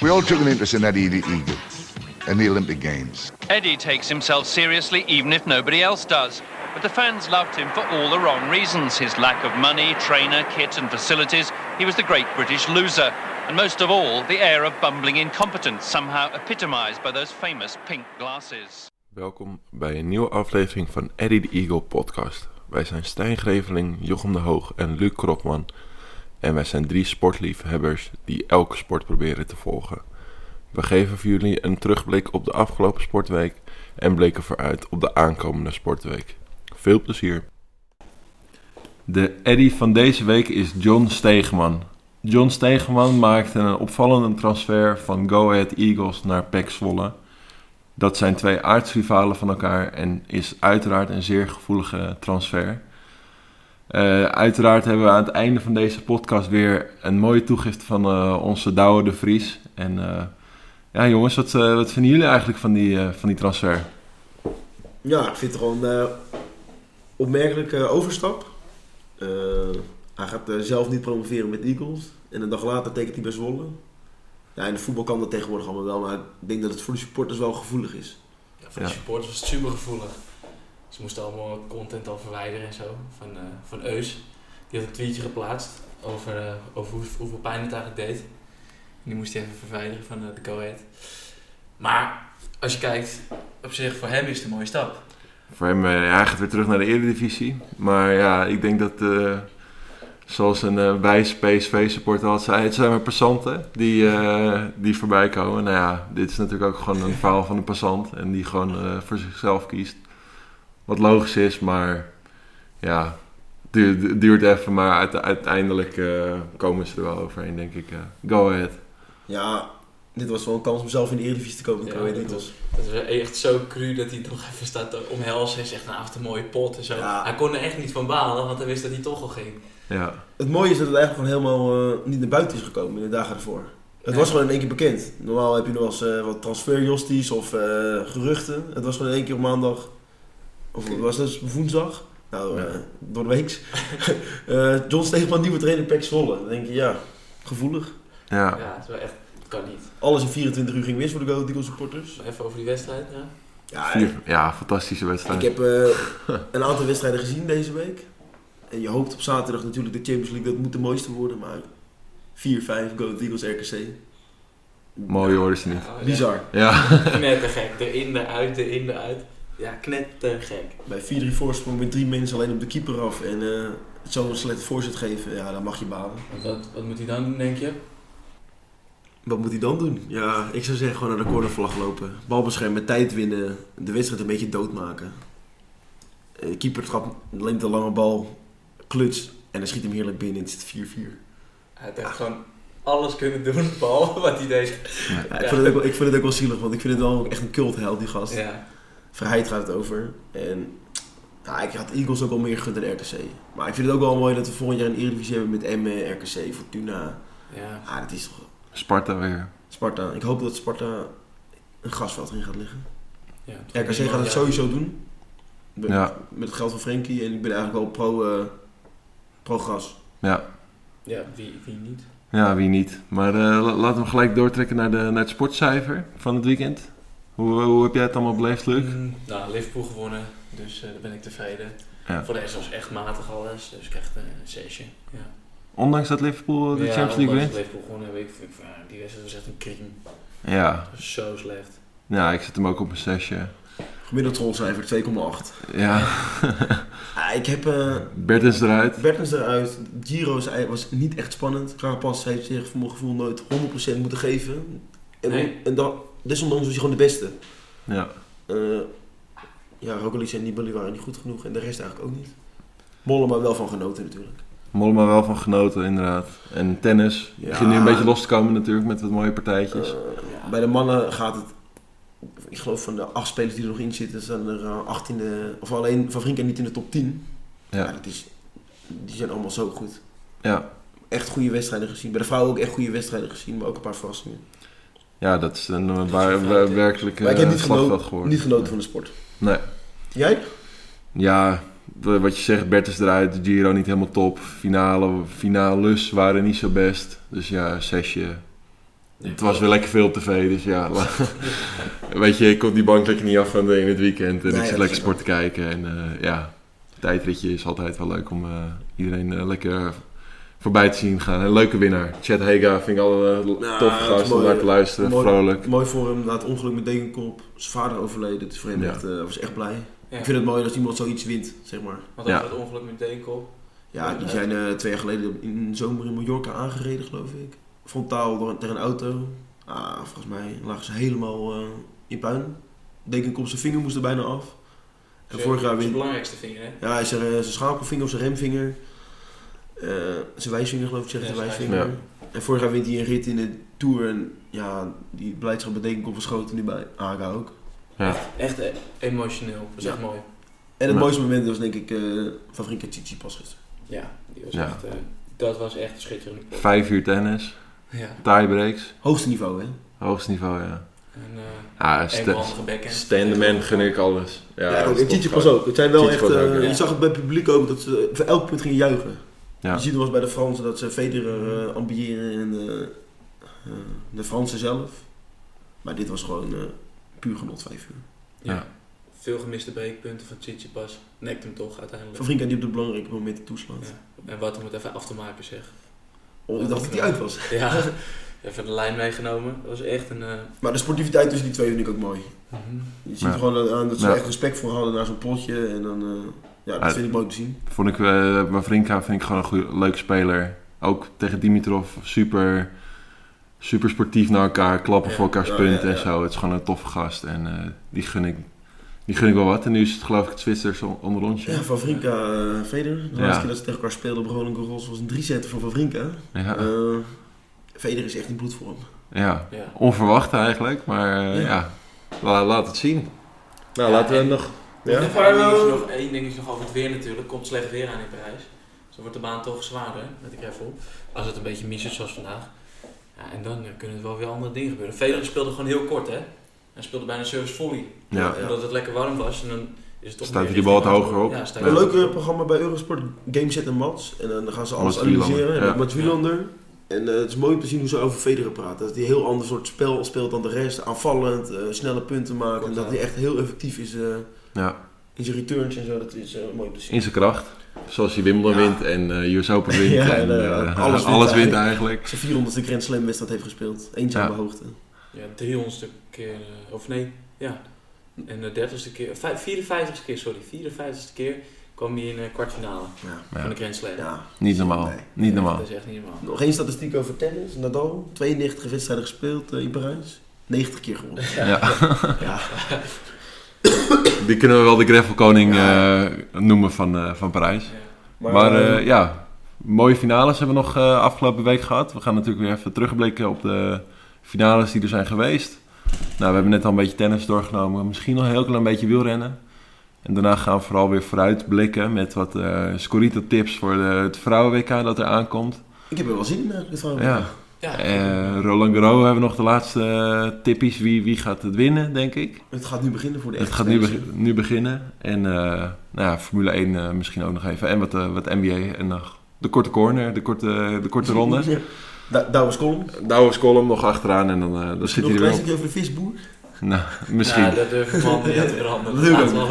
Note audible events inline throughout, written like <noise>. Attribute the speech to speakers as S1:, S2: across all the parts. S1: We all took an interest in that E Eddie Eagle and the Olympic Games.
S2: Eddie takes himself seriously even if nobody else does. But the fans loved him for all the wrong reasons his lack of money, trainer, kit, and facilities. He was the great British loser. And most of all, the air of bumbling incompetence, somehow epitomised by those famous pink glasses.
S3: Welkom bij een nieuwe aflevering van Eddie the Eagle podcast. Wij zijn Stijn Greveling, Jochem de Hoog en Luc Kropman. En wij zijn drie sportliefhebbers die elke sport proberen te volgen. We geven voor jullie een terugblik op de afgelopen sportweek en blikken vooruit op de aankomende sportweek. Veel plezier! De Eddy van deze week is John Stegeman. John Stegeman maakte een opvallende transfer van Go Ahead Eagles naar PEC Zwolle. Dat zijn twee aardsrivalen van elkaar en is uiteraard een zeer gevoelige transfer. Eh, uiteraard hebben we aan het einde van deze podcast weer een mooie toegift van eh, onze Douwe de Vries. En eh, ja, jongens, wat, eh, wat vinden jullie eigenlijk van die, eh, van die transfer?
S4: Ja, ik vind het gewoon een opmerkelijke overstap. Eh, hij gaat eh, zelf niet promoveren met de Eagles. En een dag later tekent hij bij Zwolle. Ja, in de voetbal kan dat tegenwoordig allemaal wel, maar ik denk dat het voor de supporters wel gevoelig is.
S5: Ja, voor de
S3: Ja.
S5: supporters was het super gevoelig. Ze moesten allemaal content al verwijderen en zo. Van, eh, van Eus. Die had een tweetje geplaatst over, eh, over hoe, hoeveel pijn het eigenlijk deed. En die moest hij even verwijderen van eh, de go-ahead. Maar als je kijkt, op zich voor hem is het een mooie stap.
S3: Voor hem, eh, ja, hij gaat weer terug naar de Eredivisie. Maar ja, ik denk dat, eh, zoals een eh wijs PSV-supporter al zei, het zijn maar passanten die, eh, die voorbij komen. Nou ja, dit is natuurlijk ook gewoon een verhaal van een passant en die gewoon eh, voor zichzelf kiest. Wat logisch is, maar ja, duurt, du- duurt even. Maar uite- uiteindelijk eh, komen ze er wel overheen, denk ik. eh. go ahead.
S4: Ja, dit was wel een kans om zelf in de Eredivisie te komen.
S5: Ja,
S4: Ja, de
S5: dat
S4: Eagles.
S5: Dat is echt zo cru dat hij het nog even staat te omhelzen. Hij zegt, nou, wat een mooie pot en zo.
S4: Ja.
S5: Hij kon er echt niet van balen, want hij wist dat hij toch al ging.
S3: Ja.
S4: Het mooie is dat het eigenlijk gewoon helemaal eh, niet naar buiten is gekomen in de dagen ervoor. Het
S5: Ja.
S4: was gewoon in één keer bekend. Normaal heb je nog wel eens eh, wat transferjosties of eh, geruchten. Het was gewoon in één keer op maandag, of wat was dat woensdag? Nou, eh,
S3: Ja.
S4: door de weeks.
S3: <laughs>
S4: Eh, John Steegman, nieuwe trainer, Pek Zwolle. Dan denk je, ja, gevoelig.
S3: ja.
S5: Ja, het is wel echt, het kan niet.
S4: Alles in 24 uur ging mis voor de Go Ahead Eagles supporters.
S5: Even over die wedstrijd, eh? ja.
S4: Ja,
S3: Vier- ja, fantastische wedstrijd.
S4: ik heb eh, een aantal wedstrijden gezien deze week. En je hoopt op zaterdag natuurlijk de Champions League, dat moet de mooiste worden. Maar 4-5, Go Ahead Eagles, RKC.
S3: Mooi hoor, is het niet.
S5: Oh, Ja,
S4: Bizar.
S3: Ja.
S5: <laughs> Knettergek. Erin, eruit, erin, eruit. Ja, knettergek.
S4: Bij 4-3 voorsprong met drie mensen alleen op de keeper af en eh, het zo een slechte voorzet geven, ja, dan mag je balen.
S5: Wat, wat moet hij dan doen, denk je?
S4: Wat moet hij dan doen? Ja, ik zou zeggen gewoon naar de cornervlag lopen. Bal beschermen, tijd winnen, de wedstrijd een beetje doodmaken. Eh, De keeper trapt, leent een lange bal, kluts en dan schiet hem heerlijk binnen. Het is 4-4.
S5: Hij had echt gewoon alles kunnen doen, <laughs> behalve wat hij deed.
S4: Ja, ik, vind het ook wel, ik vind het ook wel zielig, want ik vind het wel echt een cultheld, die gast.
S5: Ja.
S4: Vrijheid gaat het over. En ja, ik had Eagles ook al meer gegund dan RKC. Maar ik vind het ook wel mooi dat we volgend jaar een Eredivisie hebben met Emmen, RKC, Fortuna.
S5: Ja.
S4: Ah, dat is toch
S3: Sparta weer.
S4: Sparta. Ik hoop dat Sparta een gasveld in gaat liggen.
S5: ja
S4: RKC gaat het sowieso doen. Met,
S3: Ja.
S4: met het geld van Frenkie. En ik ben eigenlijk wel pro, eh, pro gas.
S5: Ja, wie, wie niet?
S3: Ja, wie niet. Maar eh, la- laten we gelijk doortrekken naar, de, naar het sportcijfer van het weekend. Hoe, hoe heb jij het allemaal beleefd, Luc?
S5: Mm, nou, Liverpool gewonnen, dus eh, daar ben ik tevreden.
S3: Ja.
S5: Voor de rest was echt matig alles, dus ik krijg een zesje. Ja.
S3: Ondanks dat Liverpool de
S5: Ja,
S3: Champions League
S5: ondanks
S3: wint?
S5: dat Liverpool gewonnen heb ik, vind ik van, ja, die wedstrijd was echt een crime.
S3: Ja.
S5: Dat was zo slecht.
S3: ja, ik zet hem ook op een zesje.
S4: Gemiddeld trollcijfer 2,8.
S3: Ja,
S4: Ah, ik heb eh
S3: Bertens eruit.
S4: Bertens eruit. Giro is ei- was niet echt spannend. Krapas heeft zich voor mijn gevoel nooit 100% moeten geven. En,
S5: Nee.
S4: en dan, desondanks was hij gewoon de beste.
S3: Ja.
S4: Eh, ja, Roglic en Nibali waren niet goed genoeg. En de rest eigenlijk ook niet. Mollema wel van genoten natuurlijk.
S3: Mollema wel van genoten, inderdaad. En tennis.
S4: Ja.
S3: Begint nu een beetje los te komen natuurlijk met wat mooie partijtjes.
S4: Eh, Bij de mannen gaat het, ik geloof van de acht spelers die er nog in zitten, zijn er eh, 18, eh, of alleen Van Vrinken niet in de top 10.
S3: Ja.
S4: dat is, die zijn allemaal zo goed.
S3: Ja.
S4: Echt goede wedstrijden gezien. Bij de vrouwen ook echt goede wedstrijden gezien, maar ook een paar verrassingen.
S3: ja, dat is een eh,
S5: Dat is
S3: waar,
S5: een
S3: waar-
S5: feit, hè.
S3: werkelijk
S4: maar ik heb
S3: eh,
S4: niet
S3: slagveld
S4: genoten,
S3: geworden.
S4: niet genoten van de sport.
S3: Nee.
S4: Jij?
S3: Ja, de- wat je zegt, Bertens eruit, Giro niet helemaal top. Finale, finales waren niet zo best. Dus ja, zesje. Het was weer lekker veel op tv, dus ja. <laughs> la- Weet je, ik kon die bank lekker niet af van de- in het weekend. En
S4: Nee,
S3: ik
S4: dat
S3: zit
S4: is
S3: lekker
S4: ook
S3: sport te kijken. En eh, ja, tijdritje is altijd wel leuk om eh, iedereen eh, lekker voorbij te zien gaan. Een leuke winnaar. Chad Hega vind ik al een
S4: Ja,
S3: toffe
S4: dat is
S3: gast om
S4: mooi.
S3: naar te luisteren.
S4: Mooi.
S3: Vrolijk.
S4: Mooi voor hem, na het ongeluk met Degenkop. Zijn vader overleden, het is vreemd.
S3: Ja.
S4: Echt, eh, was echt blij.
S5: Ja.
S4: Ik vind het mooi dat iemand zoiets wint, zeg maar.
S5: Want over
S3: Ja.
S5: dat ongeluk met Dekel.
S4: Ja, die zijn eh, twee jaar geleden in de zomer in Mallorca aangereden, geloof ik. Frontaal door, tegen een auto. Ah, volgens mij lagen ze helemaal eh, in puin. Degenkop zijn vinger moest er bijna af. En vorig jaar
S5: Zijn
S4: wint
S5: belangrijkste vinger, hè?
S4: Ja, is er, eh, zijn schakelvinger of zijn remvinger. Eh, zijn wijsvinger geloof ik, zeggen
S5: Ja,
S4: zijn
S5: zijn
S4: wijsvinger.
S3: wijsvinger.
S4: En vorig jaar wint hij een rit in de Tour en ja, die blijdschap betekent op verschoten nu bij Aga ook.
S5: Echt eh, emotioneel. Dat is
S4: Ja.
S5: echt mooi.
S4: En het
S3: Ja.
S4: mooiste moment was denk ik eh Favrinka Chichi pas gisteren.
S5: Ja, die was
S3: Ja.
S5: Echt, eh, dat was echt schitterend.
S3: Vijf uur tennis.
S5: Ja.
S3: Tiebreaks.
S4: Hoogste niveau hè?
S3: Hoogst niveau, ja.
S5: En eh
S3: Ah, st-
S5: eenmalige backhand.
S3: stand-man gun ik alles. Ja,
S4: Ja,
S3: dat
S4: ook
S3: is
S4: en Chichi
S3: top.
S4: pas ook. Het zijn wel echt,
S3: Tsitsipas ook,
S4: eh,
S5: ja.
S4: je zag het bij het publiek ook, dat ze voor elk punt gingen juichen.
S3: Ja.
S4: Je ziet nog eens bij de Fransen dat ze Federer eh, ambiëren en eh, eh, de Fransen zelf. Maar dit was gewoon eh, puur genot vijf uur.
S5: Ja.
S3: Ja.
S5: Veel gemiste breekpunten van Tsitsipas. Nekt hem toch uiteindelijk.
S4: Favrinka die op de belangrijke momenten toeslaat.
S5: Ja. En wat om het even af te maken zeg. <laughs>
S4: Oh, ik dacht dat hij uit was.
S5: Ja, even de lijn meegenomen. Dat was echt een... eh,
S4: Maar de sportiviteit tussen die twee vind ik ook mooi.
S5: Mhm.
S4: Je ziet
S3: Ja.
S4: er gewoon aan dat ze
S3: Ja.
S4: echt respect voor hadden naar zo'n potje. En dan, eh, ja, dat
S3: Ja.
S4: vind ik mooi om te zien.
S3: Vond ik, eh Wawrinka vind ik gewoon een goeie, leuk speler. Ook tegen Dimitrov, super, super sportief naar elkaar, klappen
S5: Ja,
S3: voor elkaars
S4: ja,
S3: punten
S4: ja,
S3: en
S4: ja.
S3: zo. Het is gewoon een toffe gast en eh, die, gun ik, die gun ik wel wat. En nu is het geloof ik het Zwitsers on- onderrondje.
S4: Ja, van Vrinka, eh Veder. De
S3: Ja.
S4: laatste keer dat ze tegen elkaar speelden op Roland Garros was een drie set voor Van Vrinka.
S3: Ja,
S4: Eh, Veder is echt in bloedvorm.
S3: ja.
S5: ja.
S3: onverwacht eigenlijk, maar eh,
S4: Ja.
S3: ja, La- laat het zien. Nou,
S5: Ja,
S3: laten we
S5: en-
S3: nog...
S5: Ja?
S4: Ja?
S5: Nog één dingetje nog, één dingetje nog over het weer natuurlijk. Komt slecht weer aan in Parijs. Dus dan wordt de baan toch zwaarder, let ik even op. Als het een beetje mies is zoals vandaag. Ja, en dan eh, kunnen er wel weer andere dingen gebeuren. Federer speelde gewoon heel kort, hè. Hij speelde bijna service volley.
S3: Ja,
S4: Ja.
S5: Omdat het lekker warm was. En dan is het toch
S3: Staat
S5: meer
S3: die bal wat
S5: richting-
S3: hoger op?
S5: Ja, staat
S3: Ja.
S4: Een
S5: hij-
S4: leuk eh, programma bij Eurosport, Game Set en Mats. En dan gaan ze alles
S3: Mats
S4: analyseren.
S3: Wielander,
S4: En
S3: ja.
S4: Mats Wielander. En eh, het is mooi om te zien hoe ze over Federer praten. Dat hij een heel ander soort spel speelt dan de rest. Aanvallend, eh, snelle punten maken.
S5: Klopt,
S4: en dat
S5: ja.
S4: hij echt heel effectief is eh,
S3: Ja.
S4: in zijn returns en zo. Dat is eh, mooi om te zien.
S3: in zijn kracht. Zoals hij Wimbledon
S4: Ja.
S3: wint en eh US Open wint
S4: Ja,
S3: en
S4: nou,
S3: eh,
S4: alles
S3: alles,
S4: wint
S3: wint
S4: eigenlijk.
S3: eigenlijk.
S4: Zijn 400ste Grand Slam wedstrijd heeft gespeeld. Eenzame
S3: Ja.
S4: hoogte.
S5: Ja, 300ste keer, eh, of nee, ja. En de 30ste keer, vij- 54ste keer, sorry, 54ste keer kwam hij in de kwartfinale
S4: Ja.
S5: van
S3: Ja.
S5: de Grand Slam.
S4: Ja.
S3: Niet normaal,
S4: Nee.
S3: niet normaal.
S5: Dat is echt niet normaal.
S4: Nog één statistiek over tennis. Nadal, 92 wedstrijden gespeeld eh, in Parijs. 90 keer
S3: <laughs>
S4: gewonnen.
S3: Ja.
S4: Ja.
S3: Die kunnen we wel de Greffelkoning
S4: Ja.
S3: eh, noemen van, eh, van Parijs.
S5: Ja.
S3: Maar, eh, ja, mooie finales hebben we nog eh, afgelopen week gehad. We gaan natuurlijk weer even terugblikken op de finales die er zijn geweest. Nou, we hebben net al een beetje tennis doorgenomen. Misschien nog een heel klein beetje wielrennen. En daarna gaan we vooral weer vooruitblikken met wat eh Scorito-tips voor de, het vrouwen-WK dat er aankomt.
S4: ik heb er wel zin in, eh, dit vrouw.
S3: Ja.
S5: Ja,
S3: Eh, Roland Garros hebben we nog de laatste eh, tippies. Wie, wie gaat het winnen, denk ik?
S4: Het gaat nu beginnen voor de
S3: Het
S4: echte
S3: gaat nu,
S4: tennis.
S3: beg- nu beginnen. En eh, nou ja, Formule 1 eh, misschien ook nog even. En wat, eh, wat NBA. En nog de korte corner, de korte, de korte ronde.
S4: Ja. Da Douwes Column.
S3: Douwens column nog achteraan en dan, eh, dan zit hij
S4: Nog een
S3: er weer
S4: klein
S3: op.
S4: stukje over de visboer.
S3: Nou, misschien.
S5: Ja, dat durf ik
S3: <laughs>
S5: man niet uit te branden.
S4: Leuk.
S5: Laten we allemaal,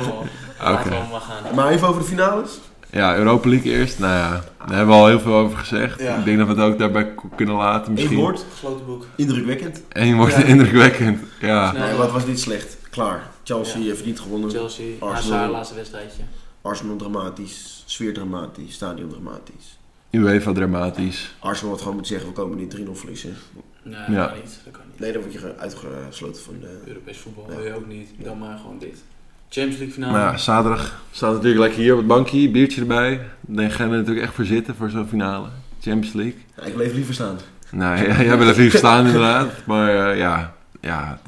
S5: laten we
S3: Oké.
S5: allemaal gaan.
S4: Maar even over de finales.
S3: Ja, Europa League eerst. Nou ja, daar hebben we al heel veel over gezegd.
S4: Ja.
S3: Ik denk dat we het ook daarbij k- kunnen laten
S4: Eén
S3: misschien.
S4: woord,
S5: Gesloten boek.
S4: indrukwekkend.
S3: Eén woord,
S5: Ja.
S3: <laughs> indrukwekkend. Ja.
S5: Snel.
S4: Nee, wat was dit slecht? Klaar. Chelsea
S5: Ja.
S4: heeft verdient gewonnen.
S5: Chelsea,
S4: Arsenal.
S5: Hazard, laatste wedstrijdje.
S4: Arsenal dramatisch, sfeer dramatisch, stadion dramatisch.
S3: UEFA dramatisch.
S4: Arsenal had gewoon moeten zeggen, we komen niet 3-0 verliezen.
S5: Nee,
S3: Ja.
S5: dat kan niet. Dat kan niet.
S4: Nee, dan word je ge- uitgesloten van de...
S5: Europees voetbal
S4: Ja.
S5: wil je ook niet. Dan maar gewoon dit. Champions League finale.
S3: Nou ja, zaterdag staat natuurlijk lekker hier op het bankje. Biertje erbij. Daar gaan we natuurlijk echt voor zitten voor zo'n finale. Champions League.
S4: Ja, ik bleef liever staan.
S3: Nou, ja, <laughs> jij wil even staan inderdaad. Maar eh, ja, ja,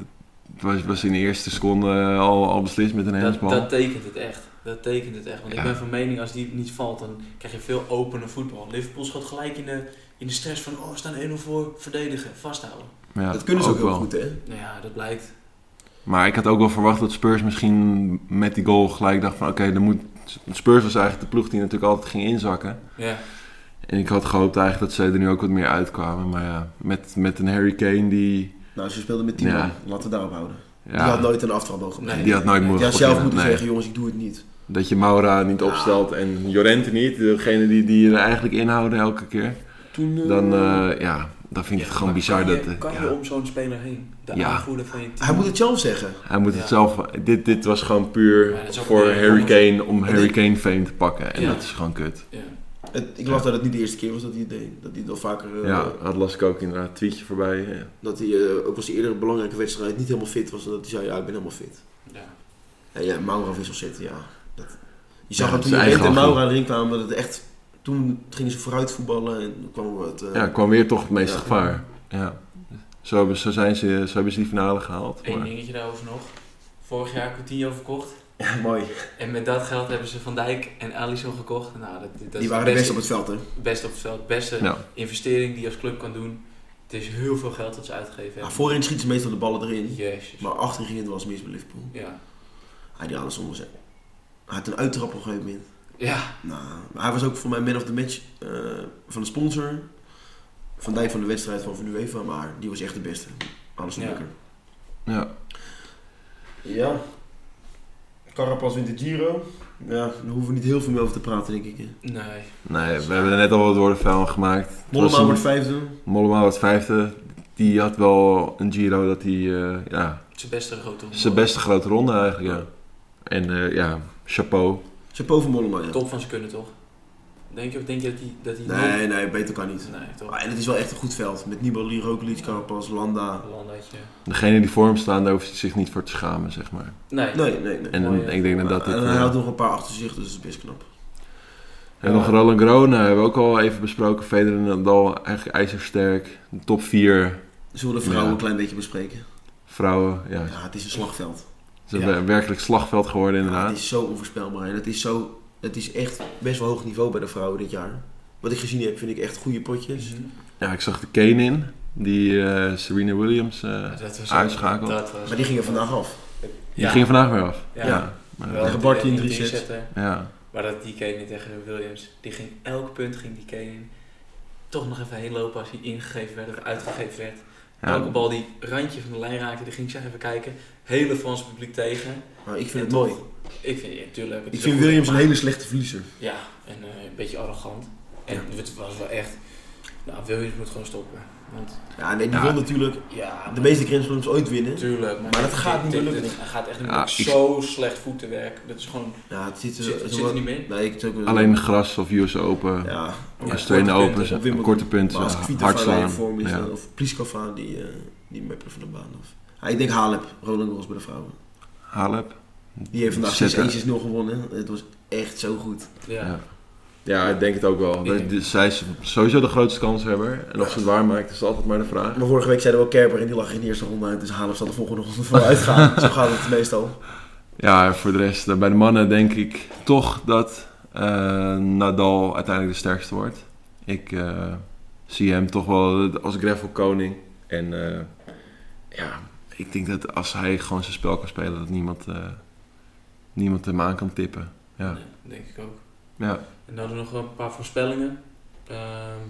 S3: het was, was in de eerste seconde eh, al, al beslist met een
S5: dat,
S3: handsbal.
S5: dat tekent het echt. Dat tekent het echt. Want
S3: Ja.
S5: ik ben van mening, als die niet valt, dan krijg je veel opener voetbal. Liverpool schot gelijk in de, in de stress van, oh, we staan 1-0 voor, verdedigen, vasthouden.
S3: Ja,
S4: dat kunnen ze ook, heel
S3: wel.
S4: goed, hè?
S5: Nou ja, dat blijkt.
S3: Maar ik had ook wel verwacht dat Spurs misschien met die goal gelijk dacht van... Oké, dan moet... Spurs was eigenlijk de ploeg die natuurlijk altijd ging inzakken.
S5: Ja,
S3: En ik had gehoopt eigenlijk dat zij er nu ook wat meer uitkwamen. Maar ja, met, met een Harry Kane die...
S4: Nou, ze speelden met 10
S3: Ja.
S4: man. Laten we daarop houden.
S3: Ja,
S4: Die had nooit een aftrap mogen
S5: Nee.
S3: die had nooit
S4: Die
S3: mogen
S4: had zelf
S3: beginnen.
S4: moeten
S3: Nee.
S4: zeggen, jongens, ik doe het niet.
S3: Dat je Maura niet opstelt en Jorente niet. Degene die, die er eigenlijk inhouden elke keer.
S6: Toen, eh,
S3: Dan, eh, ja, dan vind ik
S6: ja,
S3: het gewoon
S6: maar
S3: bizar
S6: kan je-
S3: dat... eh,
S6: Kan
S3: ja.
S6: je om zo'n speler heen? De
S3: Ja.
S6: aanvoerder van je team.
S4: Hij moet het zelf zeggen.
S3: Hij moet
S6: Ja.
S3: het zelf. Dit, dit was gewoon puur
S5: Ja, dat is ook
S3: voor
S5: een-
S3: Harry Kane om Harry
S4: dit-
S3: Kane fame te pakken. En
S5: Ja.
S3: dat is gewoon kut.
S5: Ja.
S4: Het, ik las dat het niet de eerste keer was dat hij het deed. Dat hij het al vaker... eh,
S3: Ja, dat las ik ook inderdaad. Tweetje voorbij. Ja.
S4: Dat hij, eh, ook als hij eerder een belangrijke wedstrijd niet helemaal fit was, en dat hij zei, ja, ik ben helemaal fit.
S5: Ja.
S4: En ja, Maura wissel zitten, ja. Dat, je zag
S3: Ja,
S4: dat
S3: dat is
S4: toen Jorente en
S3: eigen
S4: Maura erin kwamen, dat het echt... Toen gingen ze vooruit voetballen en kwam er wat... eh,
S3: ja, kwam weer toch het meeste
S4: Ja.
S3: gevaar. Ja. Zo, hebben- zo, zijn ze, zo hebben ze die finale gehaald.
S5: Eén
S3: maar-
S5: dingetje daarover nog. Vorig jaar Coutinho verkocht.
S4: <laughs> Mooi.
S5: En met dat geld hebben ze Van Dijk en Alisson gekocht. Nou, dat, dat
S4: Die
S5: is
S4: waren
S5: de
S4: de
S5: beste,
S4: best op het veld, hè.
S5: beste op het veld. Beste
S3: Ja.
S5: investering die je als club kan doen. Het is heel veel geld dat ze uitgegeven hebben.
S4: Nou, voorin schieten ze meestal de ballen erin.
S5: Jezus.
S4: Maar achterin ging het wel eens mis bij Liverpool.
S5: Ja.
S4: Hij die alles onder zijn. Hij had een uittrap op een gegeven moment.
S5: Ja.
S4: Nou, maar hij was ook voor mij man of the match eh, van de sponsor. Van Dijk van de wedstrijd van Van UEFA, maar die was echt de beste. Alles
S5: Ja.
S4: lekker.
S3: Ja.
S4: Ja. Carapaz wint de Giro. Ja, daar hoeven we niet heel veel meer over te praten, denk ik. hè.
S5: Nee.
S3: Nee, we hebben er net al wat woorden vuil aan gemaakt. Het was
S4: Mollema
S3: een-
S4: wordt vijfde.
S3: Mollema wordt vijfde. Die had wel een Giro dat hij... eh, ja,
S5: Zijn beste grote ronde.
S3: zijn beste grote ronde eigenlijk, ja. En eh, ja, chapeau.
S4: Chapeau voor Mollema, ja.
S5: eh, Top van ze kunnen toch? Denk je, denk je dat hij... Dat die
S4: Nee, nee, beter kan niet.
S5: Nee, toch?
S4: Ah, en het is wel echt een goed veld. Met Nibali, Roglic, Carapaz, Landa.
S5: Landaatje.
S3: Degene die voor hem staan, daar hoeft hij zich niet voor te schamen, zeg maar.
S5: Nee.
S4: Nee, nee, nee.
S3: En
S5: Mooi, hè?
S3: ik denk dat dat het...
S4: en hij
S3: eh,
S4: had nog een paar achter zich, dus dat is best knap.
S3: En nog Roland Groen, hebben we ook al even besproken. Federer en Nadal, eigenlijk ijzersterk. De top 4
S4: Zullen we de vrouwen
S3: Ja.
S4: een klein beetje bespreken?
S3: vrouwen. Ja, het
S4: Ja, het is een slagveld.
S3: is een
S5: Ja.
S3: wer- werkelijk slagveld geworden
S4: Ja, het
S3: inderdaad.
S4: is zo onvoorspelbaar. En het is, zo, het is echt best wel hoog niveau bij de vrouwen dit jaar. Wat ik gezien heb, vind ik echt goede potjes.
S5: Mhm.
S3: Ja, ik zag de Kane in, die eh, Serena Williams. eh,
S5: Dat was
S3: Uitschakeld.
S5: dat was-
S4: Maar die gingen vandaag af.
S3: Die
S5: Ja.
S3: ging vandaag weer af.
S5: Ja.
S3: Ja. Maar, eh,
S5: Wel
S3: ja.
S4: Tegen Barty in
S5: die-
S4: drie
S5: die
S4: sets.
S5: zetten. Maar dat die Kane tegen Williams, die ging elk punt ging die Kane toch nog even heen lopen als hij ingegeven werd of uitgegeven werd.
S3: Ja.
S5: Elke bal die randje van de lijn raakte, die ging ik zeg even kijken. Hele Frans publiek tegen.
S4: Maar ik
S5: En
S4: vind het
S5: toch-
S4: mooi.
S5: Ik vind, ja, tuurlijk, het
S4: Ik
S5: is
S4: vind
S5: ook-
S4: Williams een hele slechte verliezer.
S5: Ja, en eh, een beetje arrogant. En het was wel echt, nou Williams moet gewoon stoppen. Want
S4: Ja, nee, die
S3: Ja.
S4: wil natuurlijk
S5: ja,
S4: de meeste Grand Slams ooit winnen.
S5: Tuurlijk,
S4: Maar dat gaat niet
S5: dit-
S4: meer lukken.
S5: dit- Hij gaat echt niet
S3: Ja,
S5: meer lukken.
S3: ik-
S5: Zo slecht voetenwerk. Dat is gewoon,
S4: Ja, het zit,
S5: het
S4: er-
S5: zit,
S4: het
S5: het
S4: is
S5: zit er
S4: wel-
S5: niet meer in.
S4: Nee, ik het ook wel-
S3: Alleen gras of US Open.
S4: Ja,
S3: Als
S5: Ja,
S3: trainen
S5: korte
S3: open,
S5: punten.
S4: op Wimbledon.
S3: eh, korte punten,
S4: maar als
S3: hard
S4: Kvitova in
S3: slaan.
S4: vorm is,
S3: Ja.
S4: dan- of Pliskova, die, eh, die meppen van de baan af. Ja, ik denk Halep, Roland Garros bij de vrouwen.
S3: Halep.
S4: Die heeft vandaag
S3: Zetten.
S4: 6-1, 6-0 gewonnen. Het was echt zo goed.
S5: Ja.
S3: Ja. Ja, ik denk het ook wel.
S5: Ik denk-
S3: Zij is sowieso de grootste kanshebber. En of ze het waar maakt, is altijd maar de vraag.
S4: Maar vorige week zeiden we ook Kerber en die lag in de eerste ronde uit. Dus Halef zal de volgende ronde <laughs> voor
S3: <laughs>
S4: uitgaan. Zo gaat het meestal.
S3: Ja, voor de rest, eh, bij de mannen denk ik toch dat eh, Nadal uiteindelijk de sterkste wordt. Ik eh, zie hem toch wel als gravelkoning. En eh, ja, ik denk dat als hij gewoon zijn spel kan spelen, dat niemand, eh, niemand hem aan kan tippen. Ja.
S5: Nee, denk ik ook.
S3: Ja.
S5: En dan hadden we nog een paar voorspellingen. Ehm,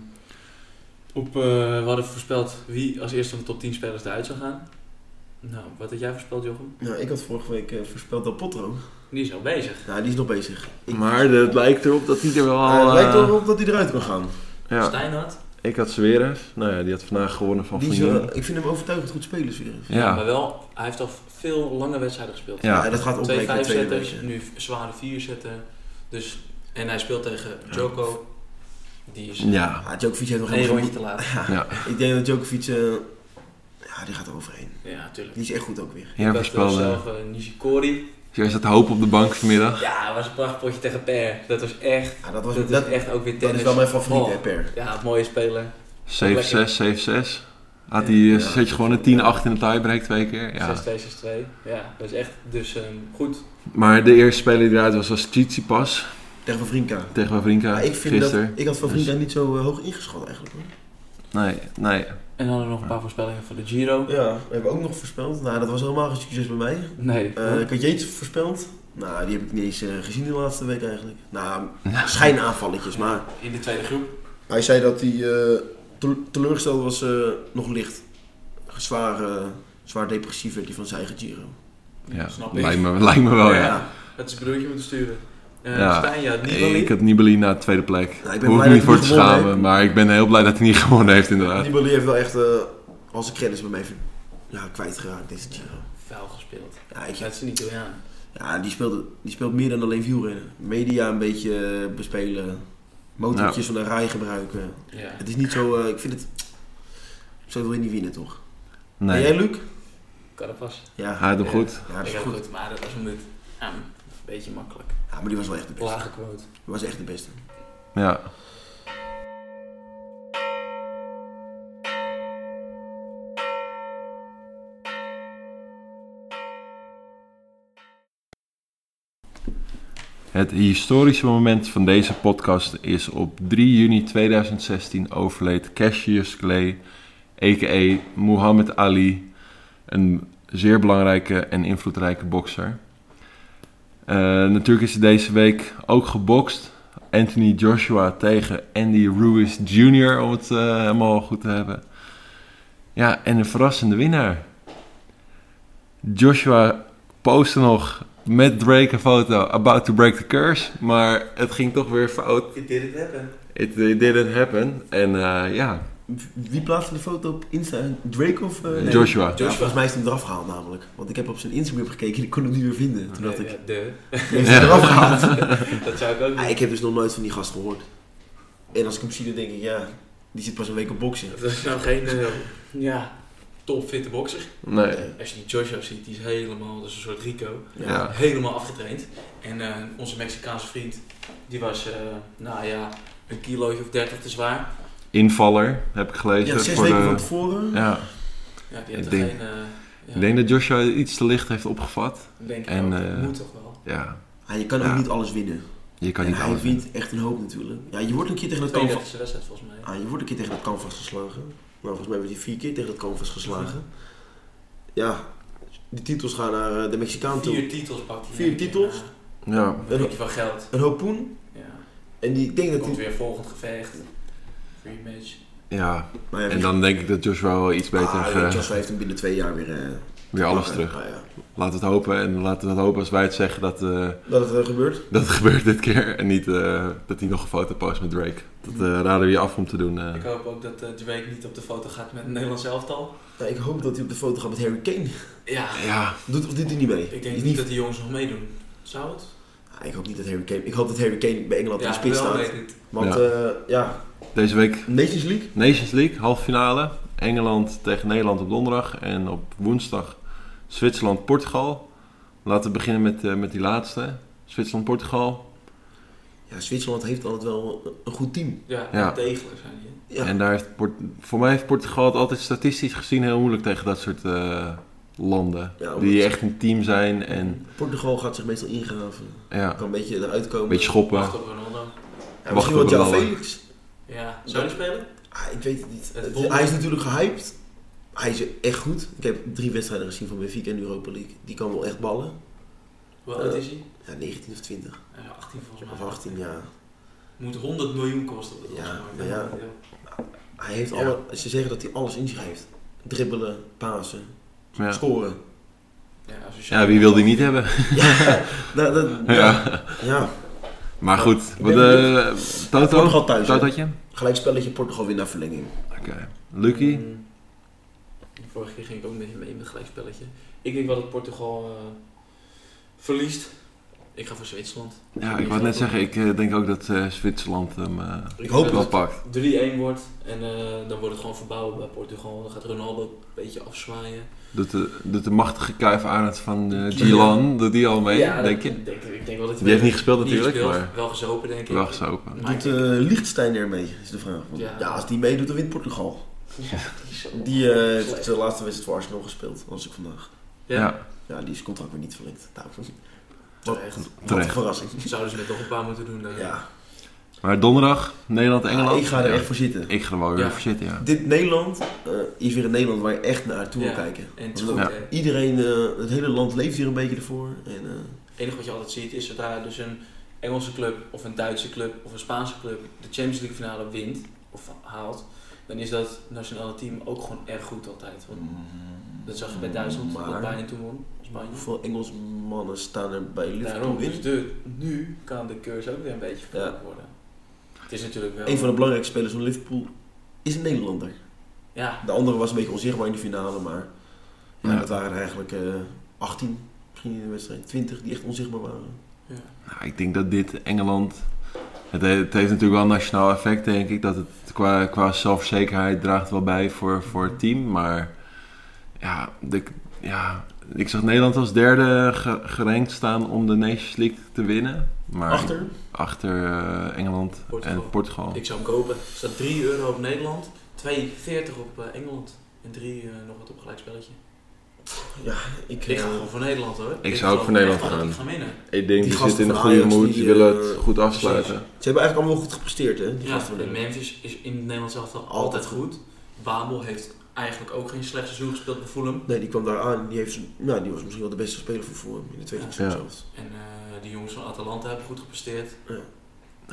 S5: op, eh, we hadden voorspeld wie als eerste van de top 10 spelers eruit zou gaan. Nou, wat had jij voorspeld, Jochem?
S4: Nou, ik had vorige week eh, voorspeld dat Potro.
S5: Die is al bezig.
S4: Nou, die is nog bezig. Ik,
S3: Maar het lijkt erop dat hij er wel
S4: Eh,
S3: al...
S4: het lijkt
S3: eh,
S4: wel op dat hij eruit kan gaan.
S3: ja.
S5: Stijn had,
S3: Ik had Zverev. Nou ja, die had vandaag gewonnen van
S4: Die
S3: Van
S4: is,
S3: Jong.
S4: wel- ik vind hem overtuigend goed spelen, Zverev.
S5: maar
S3: Ja,
S5: wel, hij heeft al veel lange wedstrijden gespeeld.
S3: Ja.
S4: dat gaat
S5: Twee
S4: opbreken in de tweede
S5: vijfzetters,
S4: week.
S5: nu zware vierzetten. Dus, en hij speelt tegen Joko. Die is
S3: ja.
S4: Ja, Djokovic heeft nog
S5: één
S4: helemaal
S5: rondje te laat.
S4: Ja.
S3: Ja.
S4: Ik denk dat Djokovic... eh, ja, die gaat er overheen.
S5: Ja, natuurlijk.
S4: Die is echt goed ook weer.
S3: Jij
S5: Ik had
S3: voorspelde...
S5: zelf eh, Nishikori.
S3: Jij zat te hopen op de bank vanmiddag.
S5: Ja, dat was een prachtpotje tegen Per. Dat was echt,
S4: Ja, dat, was,
S5: dat
S4: dat,
S5: is echt ook weer
S4: dat
S5: tennis.
S4: is wel mijn favoriet,
S5: Oh.
S4: hè, Per.
S5: Ja, mooie speler.
S3: 7-6, 7-6. Had hij eh,
S4: Ja.
S3: zet je gewoon een 10-8 in de tiebreak twee keer. Ja.
S5: 6-2, 6-2. Ja, dat is echt. Dus ehm, goed.
S3: Maar de eerste speler die eruit was was Tsitsipas
S4: Tegen Wawrinka.
S3: tegen Wawrinka
S4: Ja, ik, vind dat,
S3: gisteren. Dus-
S4: ik had Wawrinka niet zo eh, hoog ingeschat eigenlijk. Hoor.
S3: Nee, nee.
S5: En dan hadden we nog een paar voorspellingen voor de Giro.
S4: Ja, we hebben ook nog voorspeld. Nou, dat was helemaal geen succes bij mij.
S5: Nee.
S4: Eh, ik had Jeets voorspeld. Nou,
S3: Nou.
S4: die heb ik niet eens eh, gezien de laatste week eigenlijk. Nou, schijnaanvalletjes, maar
S5: in de tweede groep.
S4: Hij zei dat hij eh, tele- teleurgesteld was, eh, nog licht. Zwaar, eh, zwaar depressief werd hij van zijn eigen Giro.
S3: Ja,
S5: Snap ik.
S3: lijkt me, lijkt me wel, Oh ja.
S5: Het is een broertje moeten sturen. Eh
S3: Ja,
S5: Stijn, ja, niet
S3: Ik
S5: alleen.
S3: had Nibali naar de tweede plek.
S4: Ja, ik ben
S3: Hoef
S4: blij
S3: ik niet
S4: dat hij
S3: voor te
S4: niet gewonnen
S3: schamen, maar ik ben heel blij dat hij niet <laughs> gewonnen heeft inderdaad.
S4: Nibali heeft wel echt eh al zijn credits bij mij even ja, kwijtgeraakt deze Giro.
S5: Vuil gespeeld.
S4: Ja, ik-
S5: Dat is niet door aan.
S4: ja die, speelt, die speelt meer dan alleen wielrennen. Media een beetje eh, bespelen. Motortjes van de rij gebruiken.
S5: Ja.
S4: Het is niet zo, eh, ik vind het... Zo wil je niet winnen, toch? En
S3: Nee,
S4: jij, Luc?
S5: Carapas.
S4: Ja,
S3: hij had hem
S5: Ja.
S3: goed.
S4: ja, dat
S5: Ik
S4: is
S5: had
S4: goed.
S5: goed, maar dat was omdat... Ja, een beetje makkelijk.
S4: Ja, maar die was wel echt de beste.
S5: Lage quote.
S4: Die was echt de beste.
S3: Ja. Het historische moment van deze podcast is op 3 juni 2016 overleed Cassius Clay, a.k.a. Muhammad Ali, een zeer belangrijke en invloedrijke bokser. Eh, natuurlijk is hij deze week ook gebokst. Anthony Joshua tegen Andy Ruiz Jr., om het eh, helemaal goed te hebben. Ja, en een verrassende winnaar. Joshua postte nog met Drake een foto, about to break the curse, maar het ging toch weer fout.
S6: It did it happen.
S3: It, it didn't happen. En eh, ja,
S4: Wie plaatste de foto op Insta? Drake of... eh, nee?
S3: Joshua.
S4: Ja, volgens mij is hij hem eraf gehaald namelijk. Want ik heb op zijn Instagram gekeken en ik kon hem niet meer vinden. Toen dacht ik,
S5: Ja, de.
S4: die heeft hij eraf gehaald. <laughs>
S5: Dat zou ik ook
S4: Ah,
S5: niet.
S4: ik heb dus nog nooit van die gast gehoord. En als ik hem zie, dan denk ik, ja, die zit pas een week op boksen.
S5: Dat is nou geen eh, ja, topfitte bokser.
S3: Nee.
S5: Als je die Joshua ziet, die is helemaal, dat is een soort Rico.
S3: Ja.
S5: Helemaal afgetraind. En eh, onze Mexicaanse vriend, die was, eh, nou ja, een kilootje of 30 te zwaar.
S3: Invaller, heb ik gelezen.
S4: Ja, zes
S3: voor
S4: weken
S3: de-
S4: van tevoren.
S3: ja.
S5: Ja, die
S3: Ik
S5: had er
S3: denk-
S5: geen... eh, ja,
S3: Ik denk dat Joshua iets te licht heeft opgevat.
S5: denk ik
S3: en,
S5: ook.
S3: eh,
S5: moet toch wel.
S3: Ja,
S4: Ah, je kan
S3: Ja.
S4: ook niet alles winnen.
S3: je kan
S4: en
S3: niet
S4: hij
S3: alles
S4: wint echt een hoop natuurlijk. Ja, je wordt een keer tegen dat canvas...
S5: 32e wedstrijd volgens mij.
S4: Ah, je wordt een keer tegen dat canvas geslagen. Maar volgens mij werd hij vier keer tegen dat canvas geslagen. Ja, die titels gaan naar eh, de Mexicaan toe.
S5: Vier titels pakt hij.
S4: Vier
S5: denk ik.
S4: titels?
S5: Ja,
S3: Ja.
S5: Dan heb je wel geld.
S4: Een hoop poen.
S5: Ja.
S4: En die, ik denk dat
S5: komt
S4: hij...
S5: weer volgend gevecht. Rematch.
S3: ja,
S4: Maar ja,
S3: en dan denk ik dat Joshua wel iets beter
S4: ah,
S3: eh,
S4: Joshua heeft hem binnen twee jaar weer... eh,
S3: weer alles
S4: Ah,
S3: terug.
S4: ah, ja.
S3: Laten we het hopen en laten we het hopen als wij het zeggen dat, eh,
S4: Dat het eh, gebeurt.
S3: dat het <laughs> gebeurt dit keer. En niet eh, dat hij nog een foto post met Drake. Dat eh, raden we je af om te doen. eh.
S5: Ik hoop ook dat eh, Drake niet op de foto gaat met het Nederlands elftal.
S4: Ja, ik hoop dat hij op de foto gaat met Harry Kane.
S5: Ja,
S3: Ja,
S4: Doet of doet hij niet mee?
S5: ik
S4: Die
S5: denk
S4: is
S5: niet, dat die jongens nog meedoen. Zou het?
S4: Ah, ik hoop niet dat Harry Kane... Ik hoop dat Harry Kane bij Engeland in de spits
S5: wel
S4: staat.
S5: weet ik.
S4: Want
S3: Ja.
S4: ja. ja,
S3: deze week
S4: Nations League.
S3: Nations League, halve finale. Engeland tegen Nederland op donderdag. En op woensdag Zwitserland-Portugal. Laten we beginnen met, eh, met die laatste. Zwitserland-Portugal.
S4: Ja, Zwitserland heeft altijd wel een- een goed team.
S5: Ja,
S3: Ja.
S5: degelijk zijn die.
S4: Ja.
S3: En daar heeft Port- voor mij heeft Portugal het altijd statistisch gezien heel moeilijk tegen dat soort eh, landen.
S4: Ja, omdat-
S3: die echt een team zijn en
S4: Portugal gaat zich meestal ingraven.
S3: ja,
S4: Kan een beetje eruit komen.
S3: een beetje schoppen.
S5: Wacht op Ronaldo.
S4: Ja, misschien wel
S3: Wacht op
S4: João
S3: de ballen.
S4: Felix.
S5: Ja, zou die spelen?
S4: Ah, ik weet het niet.
S5: Het
S4: Het-
S5: wonder.
S4: hij is natuurlijk gehyped. Hij is echt goed. Ik heb drie wedstrijden gezien van Benfica en Europa League. Die kan wel echt ballen.
S5: Hoe oud is hij?
S4: Ja, 19 of 20.
S5: Hij is 18 volgens mij.
S4: Of 18, ja.
S5: Moet 100 miljoen kosten. op de
S4: Ja,
S5: transfermarkt.
S4: maar ja. Hij heeft
S3: Ja.
S4: alle, ze zeggen dat hij alles in zich heeft. Dribbelen, pasen,
S3: Ja.
S4: scoren.
S5: Ja, als je
S3: ja, wie wil die niet hebben?
S4: Ja, dat, dat, ja.
S3: Ja.
S4: ja.
S3: Maar goed, wat,
S4: ben benieuwd.
S3: eh Toto?
S4: Portugal thuis, hè?
S3: Totootje?
S4: Gelijk spelletje Portugal weer naar verlenging.
S3: Oké. Lucky?
S5: Mm. Vorige keer ging ik ook een beetje mee met het gelijkspelletje. Ik denk wel dat Portugal eh, verliest. Ik ga voor Zwitserland.
S3: Ja, ik wou net zeggen, ik eh, denk ook dat eh, Zwitserland hem eh,
S5: Ik
S4: hoop
S3: wel pakt.
S5: 3-1 wordt en eh, dan wordt het gewoon verbouwen bij Portugal. Dan gaat Ronaldo een beetje afzwaaien.
S3: Doet de, doet de machtige kuif Arend van eh Gilan, doet die al mee,
S5: Ja,
S3: denk
S5: dat-
S3: je?
S5: Denk, ik denk wel dat hij
S3: Die heeft niet gespeeld
S5: niet
S3: natuurlijk,
S5: gespeeld.
S3: maar
S5: Wel gezopen, denk ik.
S3: wel gesopen.
S5: Maar
S4: Doet eh Liechtenstein er mee, is de vraag. Want,
S5: Ja.
S4: ja. als die meedoet, dan wint Portugal.
S5: Zo.
S4: Die eh, heeft de laatste wedstrijd voor Arsenal gespeeld, als ik vandaag.
S5: Ja,
S3: Ja,
S4: Ja, die is contract weer niet verlengd. Nou, wat-
S5: terecht.
S4: Wat
S3: terecht.
S4: een verrassing.
S5: <laughs> Zouden ze net nog een paar moeten doen. eh.
S4: Ja.
S3: Maar donderdag, Nederland-Engeland.
S4: Ah, ik ga er
S3: Ja,
S4: echt voor zitten.
S3: Ik ga er wel weer
S5: Ja.
S3: voor zitten, ja.
S4: Dit Nederland eh, is weer een Nederland waar je echt naartoe wil
S5: Ja.
S4: kijken.
S5: En het is
S4: Want
S5: goed,
S3: Ja.
S5: hè.
S4: Iedereen, eh, het hele land leeft hier een beetje ervoor. En, eh,
S5: Het enige wat je altijd ziet is zodra dus een Engelse club of een Duitse club of een Spaanse club de Champions League finale wint, of haalt, dan is dat nationale team ook gewoon erg goed altijd. Want dat zag je bij Duitsland, dat
S4: Maar-
S5: bijna toen won, Spanje.
S4: Hoeveel Engelsmannen staan er bij Liverpool
S5: Daarom,
S4: in?
S5: dus de, nu kan de cursus ook weer een beetje verkocht
S4: Ja.
S5: worden. Het is natuurlijk wel...
S4: Een van de belangrijkste spelers van Liverpool is een Nederlander.
S5: Ja,
S4: De andere was een beetje onzichtbaar in de finale, maar ja,
S3: Ja.
S4: dat waren er eigenlijk eh 18 misschien in de wedstrijd. 20 die echt onzichtbaar waren.
S5: ja.
S3: Nou, ik denk dat dit Engeland. Het, he- het heeft natuurlijk wel een nationaal effect, denk ik. Dat het qua, qua zelfzekerheid draagt wel bij voor, voor het team. Maar ja, de, ja, ik zag Nederland als derde ge, gerankt staan om de Nations League te winnen. Maar
S4: Achter?
S3: achter, eh, Engeland
S5: Portugal.
S3: en Portugal.
S5: Ik zou hem kopen. Er staat 3 euro op Nederland, 2,40 op eh, Engeland en 3 eh, nog wat op gelijkspelletje.
S4: Ik,
S5: Ik ga
S4: eh,
S5: gewoon voor Nederland hoor. Ik,
S3: zou ook
S5: geloof
S3: voor Nederland
S5: echt wel dat
S3: gaan.
S5: we winnen.
S3: Ik denk,
S4: Die
S3: die
S4: gasten
S3: zitten in een
S4: van
S3: goede
S4: Ajax,
S3: moed,
S4: die,
S3: die willen
S4: eh,
S3: het goed afsluiten.
S4: Ze hebben eigenlijk allemaal wel goed gepresteerd, hè? Die
S5: Ja,
S4: gasten van
S5: en
S4: Nederland.
S5: Memphis is in het Nederlands elftal altijd goed. Babel heeft eigenlijk ook geen slecht seizoen gespeeld bij Fulham.
S4: Nee, die kwam daar aan. Die, heeft, zijn- nou, die was misschien wel de beste speler voor Fulham in de tweede
S5: Ja.
S4: seizoen
S3: Ja.
S4: zelfs.
S5: En eh, die jongens van Atalanta hebben goed gepresteerd.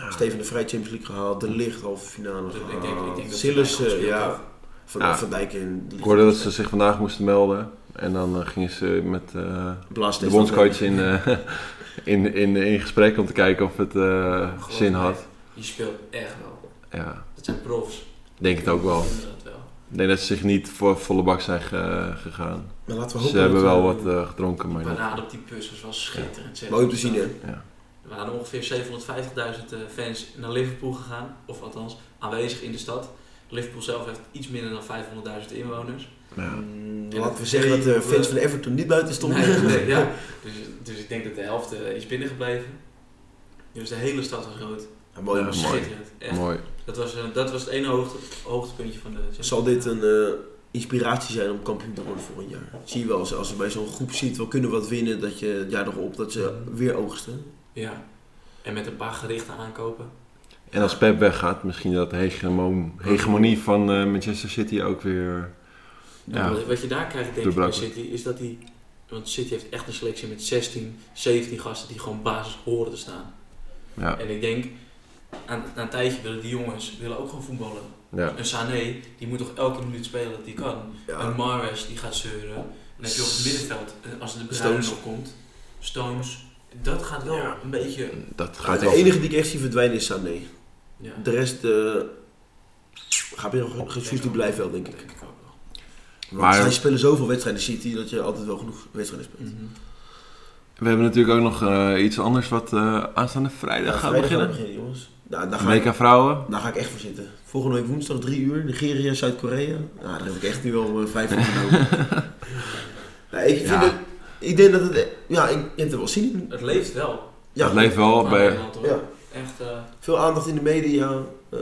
S4: Steven de Vrij Champions League gehaald. De Licht halve finale
S5: Dus ik denk- ik denk dat
S4: gehaald.
S5: ze
S4: Sillissen,
S5: daar goed speelden.
S4: ja. Van,
S3: Ja.
S4: van Dijk en...
S3: Ik hoorde dat ze zich vandaag moesten melden. En dan eh, gingen ze met... eh,
S4: Blaas
S3: de bondscoach in, eh, <laughs> in, in, in gesprek om te kijken of het eh,
S5: Geloof
S3: zin
S5: me,
S3: had.
S5: Je speelt echt wel.
S3: Ja,
S5: Dat zijn profs.
S3: ik denk het ook wel.
S5: Ik vind dat wel.
S3: Ik denk dat ze zich niet voor volle bak zijn ge- gegaan.
S4: Maar laten we hopen
S3: Ze hebben
S4: dat,
S3: wel
S4: eh,
S3: wat eh, gedronken, maar
S5: Die
S3: niet.
S5: parade op die bus was wel schitterend. zeg.
S4: Mooi om te zien, hè?
S5: Er waren ongeveer 750.000 eh, fans naar Liverpool gegaan, of althans aanwezig in de stad. Liverpool zelf heeft iets minder dan 500.000 inwoners.
S3: Ja.
S4: Mm,
S5: En
S4: Laten we
S5: dat
S4: zeggen dat de
S5: twee-
S4: fans van Everton niet buiten stonden.
S5: Nee, nee, ja. dus, dus ik denk dat de helft eh, is binnengebleven. Dus de hele stad was rood.
S4: Ja, mooi,
S3: Ja,
S4: maar
S3: mooi.
S5: Schitterend. Echt.
S3: Mooi.
S5: Dat, was, eh, dat was het ene hoogte, hoogtepuntje van de...
S4: Zal dit een eh, inspiratie zijn om kampioen te worden volgend jaar? Zie je wel, als- als je bij zo'n groep ziet, we kunnen wat winnen, dat je het jaar erop, dat ze weer oogsten.
S5: Ja. En met een paar gerichte aankopen.
S3: En als Pep weggaat, misschien dat de hegemon- hegemonie van eh, Manchester City ook weer... Ja.
S5: Nou, Wat- Wat je daar krijgt denk ik bij
S3: Doorbrak.
S5: City is dat die... Want City heeft echt een selectie met 16, 17 gasten die gewoon basis horen te staan.
S3: Ja,
S5: En ik denk, aan, na een tijdje willen die jongens willen ook gewoon voetballen.
S3: ja.
S5: Een Sané, die moet toch elke minuut spelen dat die kan. Een
S4: Ja,
S5: Mares, die gaat zeuren. En dan heb je op het middenveld, eh, als de Bruin
S4: Stones.
S5: nog komt, Stones. Dat gaat wel
S4: Ja.
S5: een beetje...
S3: Dat gaat
S4: de
S3: wel.
S4: enige die ik echt zie verdwijnen is Sané.
S5: Ja,
S4: De rest, eh Gabriel Jesus, die blijft wel, denk ik.
S5: denk ik ook wel.
S4: Want
S3: Maar-
S4: zij spelen zoveel wedstrijden City, dat je altijd wel genoeg wedstrijden speelt.
S5: Mhm.
S3: We hebben natuurlijk ook nog eh, iets anders wat eh, aanstaande vrijdag
S4: Ja,
S3: gaat
S4: vrijdag
S3: beginnen.
S4: gaan we beginnen, jongens. Nou, daar ga, ik,
S3: WK Vrouwen.
S4: daar ga ik echt voor zitten. Volgende week woensdag 3 uur, Nigeria, Zuid-Korea. Nou, daar heb ik echt nu al eh, vijf
S3: <laughs>
S4: van genomen. nou, ik, vind
S3: Ja.
S4: het, ik denk dat het... eh, Ja, ik je hebt het wel zin in.
S5: Het leeft wel.
S4: Ja,
S3: het leeft wel
S5: Maar
S3: bij...
S5: Nederland, hoor.
S4: Ja.
S5: Echt, eh,
S4: Veel aandacht in de media. eh,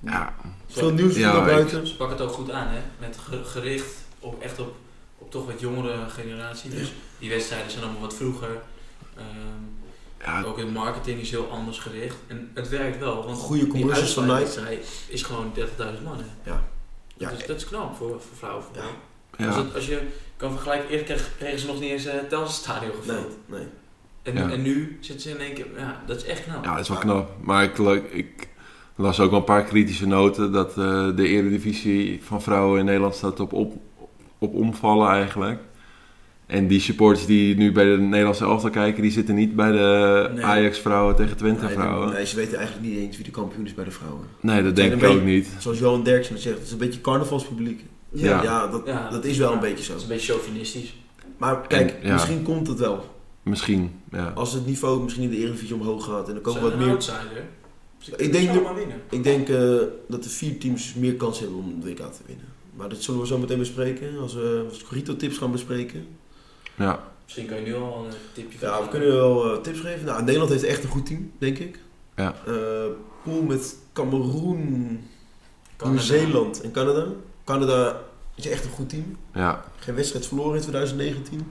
S3: Ja,
S4: veel nieuws
S3: Ja,
S4: van naar
S3: ik-
S4: buiten.
S5: ze pakken het ook goed aan, hè. Met ge- gericht op, echt op, op toch wat jongere generatie. Dus die wedstrijden zijn allemaal wat vroeger. Ehm,
S3: ja,
S5: Ook in marketing is heel anders gericht. En het werkt wel, want
S4: Goede
S5: die
S4: commercials van Nike.
S5: uitzaaidwedstrijd is gewoon 30.000 man. hè.
S4: Ja. Ja,
S5: Dat, is, dat is knap voor, voor vrouwen.
S4: Ja.
S5: Als,
S3: ja.
S5: het- als je kan vergelijken, eerder kreeg- kregen ze nog niet eens het Telstarstadion
S4: Nee,
S5: gevuld.
S4: nee.
S5: En,
S3: Ja.
S5: en nu zitten ze in één keer, ja, dat is echt knap.
S3: Ja, dat is wel knap. Maar ik, la- ik las ook wel een paar kritische noten dat eh, de eredivisie van vrouwen in Nederland staat op, op, op omvallen eigenlijk. En die supporters die nu bij de Nederlandse elftal kijken, die zitten niet bij de
S5: Nee.
S3: Ajax-vrouwen tegen
S4: Nee,
S3: Twente-vrouwen. Nee,
S4: nee, ze weten eigenlijk niet eens wie de kampioen is bij de vrouwen.
S3: dat
S4: Zijn
S3: denk ik
S4: een
S3: ook niet.
S4: Zoals Johan Derksen het zegt, het is een beetje carnavalspubliek.
S3: Ja.
S4: ja dat,
S5: Ja.
S4: dat is wel een beetje zo.
S5: Dat is een beetje chauvinistisch.
S4: Maar kijk,
S3: En, ja.
S4: misschien komt het wel.
S3: Misschien, ja.
S4: Als het niveau misschien in de Eredivisie omhoog gaat en er komen
S5: Zijn
S4: wat
S5: een
S4: meer...
S5: outsider. Ze
S4: Ik
S5: kunnen
S4: denk
S5: zomaar
S4: dat-
S5: winnen.
S4: Ik denk eh, dat de vier teams meer kans hebben om de WK te winnen. Maar dat zullen we zo meteen bespreken, als we als Corito-tips gaan bespreken.
S3: ja.
S5: Misschien kan je nu al een tipje
S4: Ja, we
S5: geven.
S4: kunnen wel eh, tips geven. Nou, Nederland heeft echt een goed team, denk ik.
S3: Ja.
S4: Eh, pool met Cameroen,
S5: Canada.
S4: Nieuw-Zeeland en Canada. Canada is echt een goed team.
S3: ja.
S4: Geen wedstrijd verloren in 2019.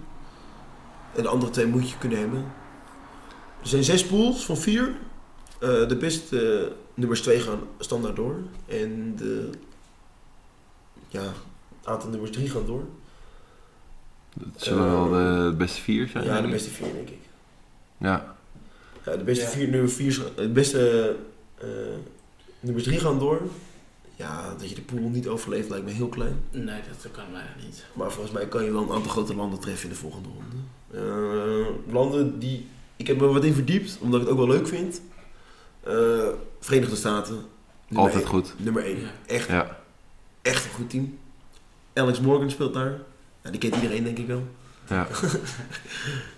S4: En de andere twee moet je kunnen hebben. Er zijn zes pools van vier. Eh, de beste eh, nummers twee gaan standaard door. En de ja, aantal nummers drie gaan door.
S3: Dat zullen wel de beste vier
S4: Ja,
S3: zijn.
S4: de
S3: denk ik.
S4: beste vier denk ik.
S3: Ja,
S4: Ja, de beste
S5: Ja.
S4: vier nummer vier. gaan- De beste eh, eh, Nummer 3 gaan door. Ja, dat je de pool niet overleeft lijkt me heel klein.
S5: Nee, dat kan mij niet.
S4: Maar volgens mij kan je wel een aantal grote landen treffen in de volgende ronde. Eh, landen die... Ik heb me wat in verdiept, omdat ik het ook wel leuk vind. Eh, Verenigde Staten. nummer
S3: Altijd
S4: één.
S3: goed.
S4: Nummer 1.
S5: Ja.
S4: Echt,
S3: Ja.
S4: echt een goed team. Alex Morgan speelt daar. Ja, die kent iedereen denk ik wel.
S3: Ja.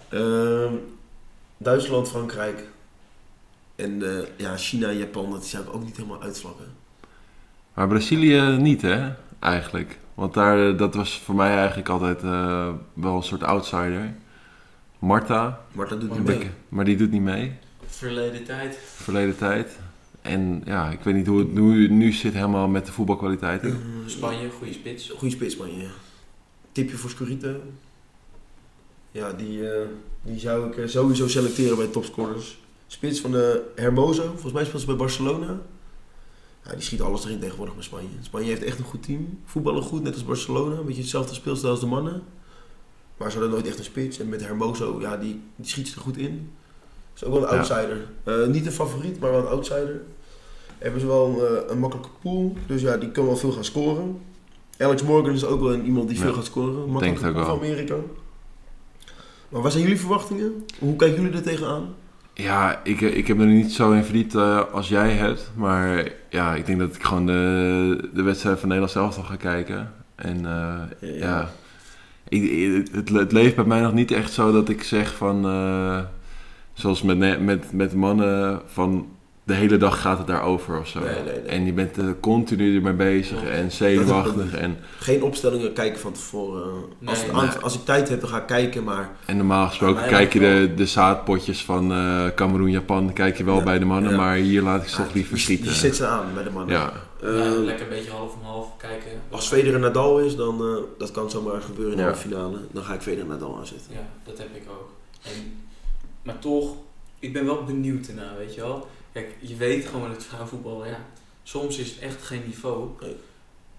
S4: Ehm, Duitsland, Frankrijk. En eh, ja, China en Japan, dat zou ik ook niet helemaal uitvlakken.
S3: Maar Brazilië niet, hè? Eigenlijk. Want daar, eh, dat was voor mij eigenlijk altijd eh, wel een soort outsider. Marta,
S4: Maar dat doet niet
S5: Marta.
S4: mee.
S3: maar die doet niet mee.
S5: Verleden tijd.
S3: Verleden tijd. En ja, ik weet niet hoe het nu, nu zit helemaal met de voetbalkwaliteiten.
S4: Eh,
S5: Spanje, goede spits.
S4: Goede spits, man. Ja. Tipje voor Scorito. Ja, die, eh, die zou ik eh, sowieso selecteren bij de topscorers. Spits van de Hermoso, volgens mij speelt ze bij Barcelona. Ja, die schiet alles erin tegenwoordig met Spanje. Spanje heeft echt een goed team. Voetballen goed, net als Barcelona. Een beetje hetzelfde speelstijl als de mannen. Maar ze hadden nooit echt een spits. En met Hermoso, ja, die, die schiet ze er goed in. Is ook wel een
S3: Ja.
S4: outsider. Eh, niet een favoriet, maar wel een outsider. Hebben ze wel een, eh, een makkelijke pool. Dus ja, die kan wel veel gaan scoren. Alex Morgan is ook wel een, iemand die
S3: Ja.
S4: veel gaat scoren.
S3: Denk
S4: Makkelijke
S3: het ook
S4: pool van
S3: wel.
S4: Amerika. Maar wat zijn jullie verwachtingen? Hoe kijken jullie er tegenaan?
S3: Ja, ik, eh, ik heb er niet zo in verdiept eh, als jij hebt. Maar ja, ik denk dat ik gewoon de, de wedstrijd van Nederland zelf ga kijken. En eh, ja, ik, ik- het, het leeft bij mij nog niet echt zo dat ik zeg van... eh, zoals met, ne- met, met mannen, van de hele dag gaat het daarover of zo.
S4: Nee, nee, nee.
S3: En je bent er continu ermee bezig
S5: Ja.
S3: en zenuwachtig. En,
S4: Geen opstellingen kijken van tevoren.
S5: Nee,
S4: als, het
S5: nee.
S4: aan- als ik tijd heb, dan ga ik kijken. Maar
S3: en normaal gesproken
S5: Ja,
S3: kijk je
S5: ja.
S3: de, de zaadpotjes van eh Cameroen, Japan... kijk je wel
S4: Ja.
S3: bij de mannen,
S4: Ja.
S3: maar hier laat ik ze toch
S4: Ah,
S3: liever
S4: je- Je
S3: schieten.
S4: zet ze aan bij de mannen.
S3: Ja,
S4: Eh,
S5: Ja, lekker een beetje half om half kijken.
S4: als Federer en Nadal is, dan eh, dat kan zomaar gebeuren in de
S3: Ja.
S4: halve finale. Dan ga ik Federer en Nadal aanzetten.
S5: Ja, dat heb ik ook. En, maar toch, ik ben wel benieuwd daarna, weet je wel. Kijk, je weet gewoon het vrouwenvoetbal, ja. Soms is het echt geen niveau.
S4: Nee.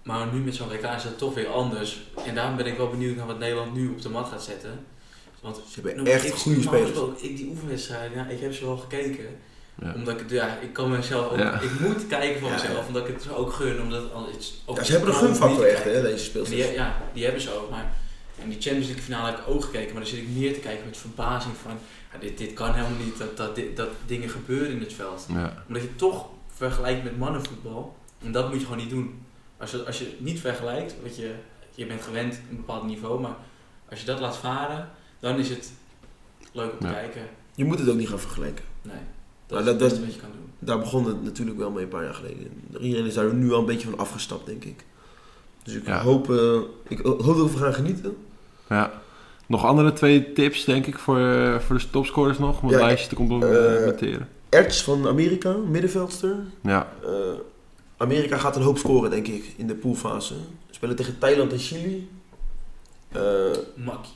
S5: Maar nu met zo'n WK is dat toch weer anders. En daarom ben ik wel benieuwd naar wat Nederland nu op de mat gaat zetten. Want
S4: Ze hebben
S5: noem-
S4: echt
S5: ik-
S4: goede
S5: normaal
S4: spelers.
S5: gesproken, Ik, die oefenwedstrijden, ja, ik heb ze wel gekeken.
S3: Ja.
S5: Omdat ik, ja, ik kan mezelf ook,
S3: Ja.
S5: ik moet kijken voor
S4: Ja, ja.
S5: mezelf, omdat ik het ze ook gun. Omdat het anders, ook
S4: Ja, ze hebben een gunfactor echt, hè, deze
S5: en die,
S4: speelsters.
S5: ja, die hebben ze ook. Maar in die Champions League finale heb ik ook gekeken. Maar dan zit ik meer te kijken met verbazing van... ja, dit, dit kan helemaal niet, dat, dat, dit- dat dingen gebeuren in het veld.
S3: ja.
S5: Omdat je toch vergelijkt met mannenvoetbal. En dat moet je gewoon niet doen. Als je, als je het niet vergelijkt, want je, je bent gewend een bepaald niveau. Maar als je dat laat varen, dan is het leuk om te
S3: Ja.
S5: kijken.
S4: Je moet het ook niet gaan vergelijken.
S5: Nee,
S4: Maar
S5: dat is
S4: dat-
S5: het beste
S4: dat-
S5: wat je kan doen.
S4: Daar begon het natuurlijk wel mee een paar jaar geleden. Iedereen is daar nu al een beetje van afgestapt, denk ik. Dus ik,
S3: Ja.
S4: hoop, eh, ik hoop dat we gaan genieten.
S3: Ja. Nog andere twee tips, denk ik, voor, eh, voor de topscorers nog, om het
S4: Ja, eh,
S3: lijstje te complementeren.
S4: Erts van Amerika, middenveldster.
S3: ja,
S4: Eh, Amerika gaat een hoop scoren, denk ik, in de poolfase. We spelen tegen Thailand en Chili. Eh,
S5: Makkie.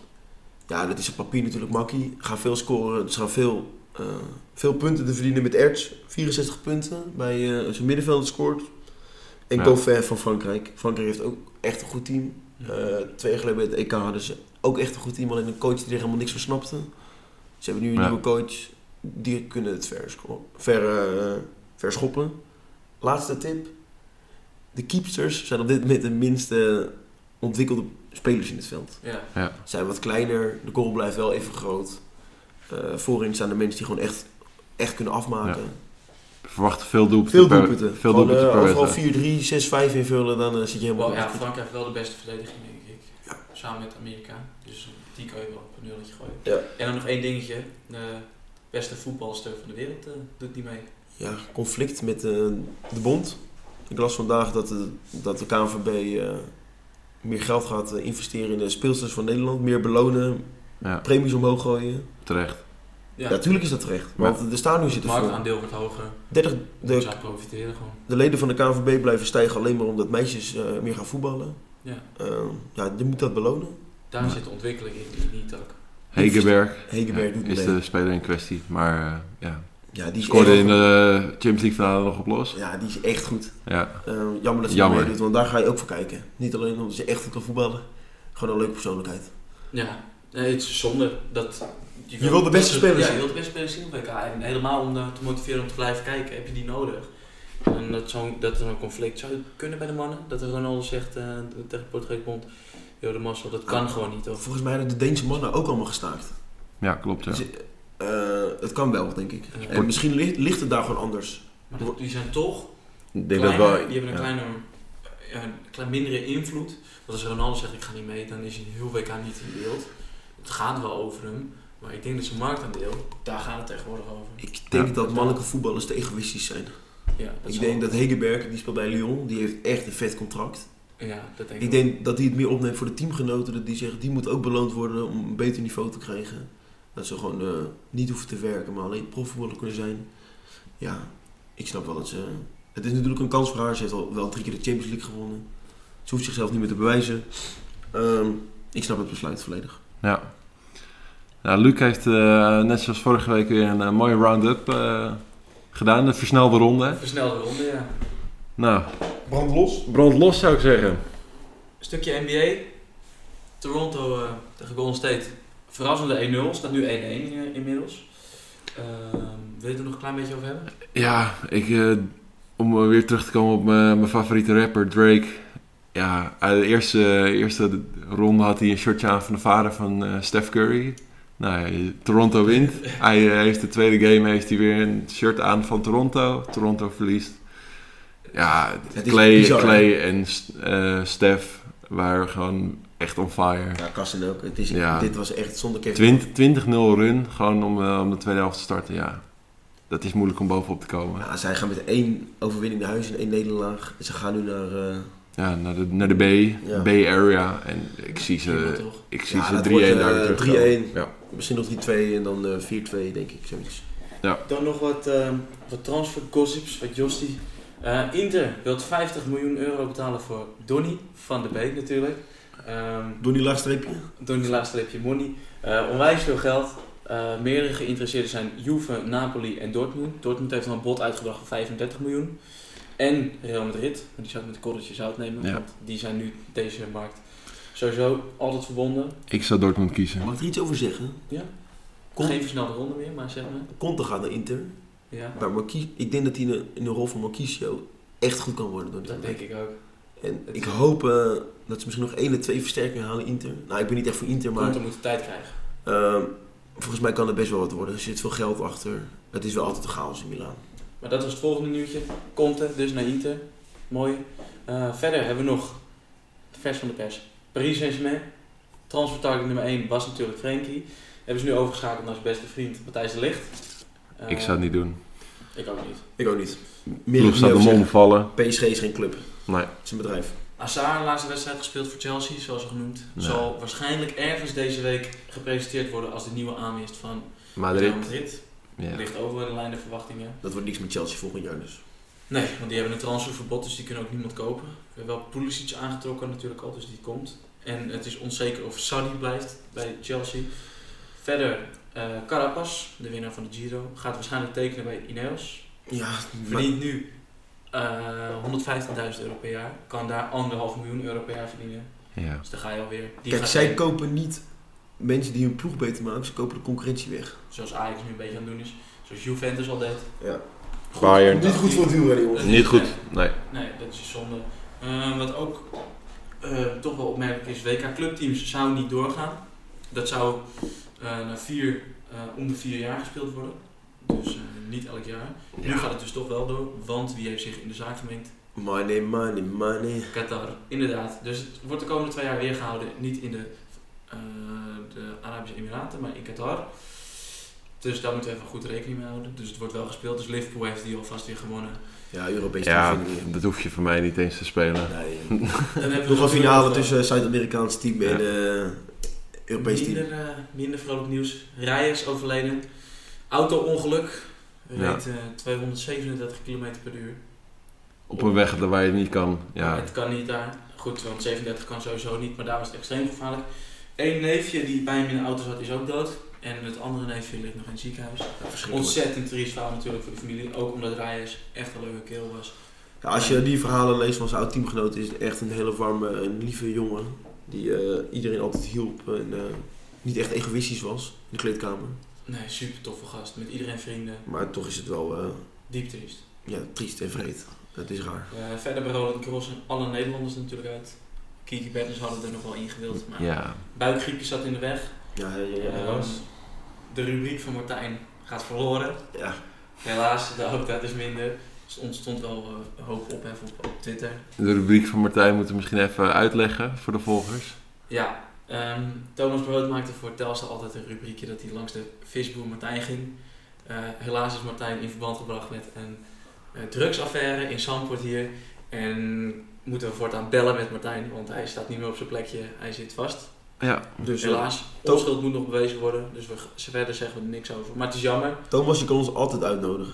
S4: ja, dat is op papier natuurlijk makkie. Gaan veel scoren, dus gaan veel, eh, veel punten te verdienen met Erts. 64 punten bij eh, zijn middenveld scoort. En
S3: Ja.
S4: Goffin van Frankrijk. Frankrijk heeft ook echt een goed team. Eh, twee jaar geleden bij het EK hadden ze ook echt een goed team, alleen een coach die er helemaal niks van snapte. Ze hebben nu een
S3: Ja.
S4: nieuwe coach, die kunnen het ver, scho- ver, eh, verschoppen. Laatste tip. De keepsters zijn op dit moment de minste ontwikkelde spelers in het veld.
S5: Ja,
S4: Ze zijn wat kleiner, de goal blijft wel even groot. Eh, voorin staan de mensen die gewoon echt, echt kunnen afmaken.
S3: we verwachten veel doelpunten.
S4: Veel
S3: per-
S4: doelpunten.
S3: Veel
S4: Gewoon,
S3: doelpunten
S4: eh,
S3: per
S4: overal
S3: wedstrijd.
S4: 4-3, 6-5 invullen, dan eh, zit je helemaal
S5: Wel,
S4: op.
S5: Oh, ja, Frankrijk heeft wel de beste verdediging, denk ik. Samen met Amerika. Dus die kan je wel op een nulletje gooien.
S4: Ja.
S5: En dan nog één dingetje. De beste voetbalster van de wereld eh, doet die mee.
S4: ja, conflict met eh, de bond. Ik las vandaag dat de, dat de KNVB eh, meer geld gaat eh, investeren in de speelsters van Nederland. Meer belonen,
S3: Ja,
S4: premies omhoog gooien.
S3: terecht.
S5: Ja,
S4: Ja, natuurlijk is dat terecht. Want de stadion
S5: het
S4: zitten vol.
S5: marktaandeel wordt hoger.
S4: 30,
S5: Dus
S4: de,
S5: zij profiteren gewoon.
S4: de leden van de KNVB blijven stijgen alleen maar omdat meisjes eh, meer gaan voetballen.
S5: Ja.
S4: Eh, ja, je moet dat belonen.
S5: Daar
S3: Ja.
S5: zit de ontwikkeling in, niet ook.
S3: Hegeberg
S4: Hegenberg
S3: ja,
S4: doet
S3: is
S4: mee.
S3: de speler in kwestie, maar eh, ja.
S4: Ja, die is
S3: scoorde
S4: echt,
S3: in de Champions League finale nog op los.
S4: ja, die is echt goed.
S3: Ja,
S4: Eh, jammer dat ze
S3: Jammer.
S4: niet meedoet, want daar ga je ook voor kijken. Niet alleen omdat ze echt goed kan voetballen. Gewoon een leuke persoonlijkheid.
S5: Ja, nee, het is zonde dat...
S4: Je wil de beste
S5: dat-
S4: spelers
S5: Ja,
S4: zien.
S5: je wil de beste spelers zien op WK. En helemaal om eh, te motiveren om te blijven kijken, heb je die nodig. En dat, zo'n, dat er een conflict zou kunnen bij de mannen. Dat de Ronaldo zegt eh, tegen de Portugese bond... Yo, de mazzel, dat kan
S4: Ah.
S5: gewoon niet. Of,
S4: Volgens mij hebben de Deense mannen ook allemaal gestaakt.
S3: Ja, klopt. Ja.
S4: Dus, eh, het kan wel, denk ik.
S5: Ja.
S4: En misschien ligt, ligt het daar gewoon anders.
S5: maar dat- die zijn toch...
S3: Ik
S5: kleiner, die hebben een, kleiner, ja, een klein mindere invloed. Want als Ronaldo zegt, ik ga niet mee, dan is hij heel WK niet in beeld. Het gaat wel over hem. Maar ik denk dat zijn marktaandeel, daar gaat het tegenwoordig over.
S4: Ik denk
S3: Ja.
S4: dat mannelijke voetballers te egoïstisch zijn.
S5: Ja, dat
S4: Ik
S5: zal-
S4: denk dat Hegeberg, die speelt bij Lyon, die heeft echt een vet contract.
S5: Ja, dat denk ik
S4: Ik denk dat hij het meer opneemt voor de teamgenoten. Dat die zeggen, die moet ook beloond worden om een beter niveau te krijgen. Dat ze gewoon eh, niet hoeven te werken, maar alleen profvoetballer kunnen zijn. Ja, ik snap wel dat ze... Het is natuurlijk een kans voor haar. Ze heeft al wel drie keer de Champions League gewonnen. Ze hoeft zichzelf niet meer te bewijzen. Ehm, ik snap het besluit volledig.
S3: Ja. Nou, Luc heeft eh, net zoals vorige week weer een eh, mooie round-up eh, gedaan. Een versnelde ronde.
S5: ook. Versnelde ronde, ja.
S3: Nou,
S7: Brand los.
S3: brand los zou ik zeggen.
S5: Stukje NBA. Toronto eh, tegen Golden State. Verrassende 1-0. Staat nu 1-1 eh, inmiddels. Ehm, wil je het er nog een klein beetje over hebben?
S3: Ja, ik, eh, om eh, weer terug te komen op mijn, mijn favoriete rapper, Drake. Ja, uit de eerste, eerste ronde had hij een shirtje aan van de vader van eh, Steph Curry. Nou ja, Toronto wint. Hij eh, heeft de tweede game heeft hij weer een shirt aan van Toronto. Toronto verliest. Ja,
S4: Het is
S3: Clay,
S4: bizar, hè?
S3: Clay en eh, Steph waren gewoon echt on fire.
S4: Ja, Kassen ook. Het is,
S3: Ja.
S4: Dit was echt zonder Kevin.
S3: 20 20-0 run, gewoon om, eh, om de tweede helft te starten, ja. Dat is moeilijk om bovenop te komen.
S4: Ja, zij gaan met één overwinning naar huis en één nederlaag. En ze gaan nu naar... eh,
S3: Ja, naar de, naar de Bay,
S4: Ja.
S3: Bay Area. En ik zie
S5: Prima,
S3: ze,
S5: toch?
S3: ik zie
S4: Ja,
S3: ze
S4: dat
S3: 3-1
S4: wordt, eh,
S3: daar weer terug.
S4: 3-1.
S3: Ja.
S4: misschien nog die 2 en dan eh 4-2, denk ik. Zoiets.
S6: Dan nog wat, ehm,
S5: Wat transfer gossips, wat Jostie. Eh, Inter wilt 50 miljoen euro betalen voor Donny van de Beek natuurlijk. Ehm
S4: Door die laagstreepje.
S5: Donny laatste heb je money. Eh, onwijs veel geld. Eh, meerdere geïnteresseerden zijn Juve, Napoli en Dortmund. Dortmund heeft al een bod uitgebracht van 35 miljoen. En Real Madrid, maar die zou ik met een korreltje zout nemen,
S3: Ja.
S5: want die zijn nu deze markt sowieso altijd verbonden.
S3: Ik zou Dortmund kiezen.
S4: Mag ik er iets over zeggen? Kom.
S5: Geen versnelde ronde meer, maar zeg maar.
S4: Conte gaat naar Inter.
S5: Ja,
S4: Maar Marquis, ik denk dat hij in de, in de rol van Marquisio echt goed kan worden. Door die
S5: dat denk ik ook.
S4: En
S5: Het
S4: ik
S5: is-
S4: hoop eh, dat ze misschien nog één of twee versterkingen halen Inter. Nou, ik ben niet echt voor Inter, maar
S5: Conte moet de tijd krijgen.
S4: ehm, volgens mij kan er best wel wat worden. Er zit veel geld achter. Het is wel altijd een chaos in Milaan.
S5: Maar dat was het volgende nieuwtje. Conte, dus naar Inter. Mooi. Eh, verder hebben we nog, vers van de pers, Paris Saint-Germain. Transfer target nummer 1 was natuurlijk Frenkie. Hebben ze nu overgeschakeld naar zijn beste vriend Matthijs de Ligt. Eh,
S3: Ik zou het niet doen.
S5: Ik ook niet.
S4: Ik ook niet.
S3: Ploeg staat om omvallen.
S4: PSG is geen club.
S3: Nee.
S4: Het is een bedrijf.
S5: Azar, de laatste wedstrijd gespeeld voor Chelsea, zoals genoemd.
S3: Ja.
S5: Zal waarschijnlijk ergens deze week gepresenteerd worden als de nieuwe aanwinst van
S3: Madrid.
S5: Real Madrid.
S3: Ja.
S5: Ligt over bij de lijn der verwachtingen.
S4: Dat wordt niks met Chelsea volgend jaar dus.
S5: Nee, want die hebben een transferverbod, dus die kunnen ook niemand kopen. We hebben wel Pulisic aangetrokken natuurlijk al, dus die komt. En het is onzeker of Saudi blijft bij Chelsea. Verder, eh Carapaz, de winnaar van de Giro, gaat waarschijnlijk tekenen bij Ineos.
S4: Ja, maar,
S5: Verdient nu eh, 150.000 euro per jaar. Kan daar anderhalf miljoen euro per jaar verdienen.
S3: Ja.
S5: Dus daar ga je alweer. Die
S4: kijk,
S5: gaat
S4: zij
S5: heen,
S4: kopen niet mensen die hun ploeg beter maken. Ze kopen de concurrentie weg.
S5: Zoals Ajax nu een beetje aan het doen is. Zoals Juventus al deed.
S4: Ja.
S5: Goed,
S3: Bayern.
S7: Niet goed voor het wielrennen, jongens.
S3: Niet goed. Nee.
S5: Nee, dat is zonde. Eh, wat ook eh, toch wel opmerkelijk is, WK clubteams zou niet doorgaan. Dat zou eh, na vier, eh, om de vier jaar gespeeld worden. Dus eh, niet elk jaar. Nu gaat het dus toch wel door, want wie heeft zich in de zaak gemengd?
S4: Money, money, money.
S5: Qatar, inderdaad. Dus het wordt de komende twee jaar weer gehouden, niet in de, eh, de Arabische Emiraten, maar in Qatar. Dus daar moeten we even goed rekening mee houden. Dus het wordt wel gespeeld. Dus Liverpool heeft die alvast weer gewonnen.
S4: Ja, Europees
S3: Ja,
S4: team vind ik niet.
S3: dat hoef je voor mij niet eens te spelen.
S4: Nee.
S5: Dan hebben we
S4: Nog een
S5: natuurlijk
S4: finale
S5: nog, eh,
S4: tussen Zuid-Amerikaans team en
S3: Ja.
S4: eh Europees team.
S5: minder, eh, minder vrolijk nieuws. Rijers overleden. Auto-ongeluk.
S3: Ja.
S5: Reed eh, 237 km per uur.
S3: Op een weg waar je het niet kan. Ja.
S5: Het kan niet daar. Goed, 237 kan sowieso niet, maar daar was het extreem gevaarlijk. Eén neefje die bij hem in de auto zat is ook dood. En het andere neefje ligt nog in het ziekenhuis. Ontzettend triest verhaal natuurlijk voor de familie. Ook omdat Rijers echt een leuke kerel was.
S4: Ja, als je die verhalen leest van zijn oud-teamgenoot, is het echt een hele warme en lieve jongen. Die eh, iedereen altijd hielp en eh, niet echt egoïstisch was in de kleedkamer.
S5: Nee, super toffe gast. Met iedereen vrienden.
S4: Maar toch is het wel eh,
S5: Diep triest.
S4: ja, triest en vreed. Dat is raar.
S5: Eh, verder bij Roland Cross en alle Nederlanders natuurlijk uit. Kiki Bertens hadden er nog wel in gewild, maar
S3: Ja,
S5: buikgriepje zat in de weg.
S4: Ja, ja, ja,
S5: Ehm,
S4: helaas.
S5: de rubriek van Martijn gaat verloren.
S4: Ja.
S5: Helaas, de hooptijd is minder. Dus er ontstond wel eh, een hoop ophef op, op Twitter.
S3: de rubriek van Martijn moeten we misschien even uitleggen voor de volgers.
S5: Ja, ehm, Thomas Brood maakte voor Telstra altijd een rubriekje dat hij langs de visboer Martijn ging. Eh, helaas is Martijn in verband gebracht met een eh, drugsaffaire in Zandvoort hier. En moeten we voortaan bellen met Martijn, want hij staat niet meer op zijn plekje. Hij zit vast.
S3: Ja,
S4: Dus
S5: Dus helaas,
S4: Toch-
S5: onschuld moet nog bewezen worden. Dus we, verder zeggen we er niks over. Maar het is jammer.
S4: eh, Thomas, je kan ons altijd uitnodigen.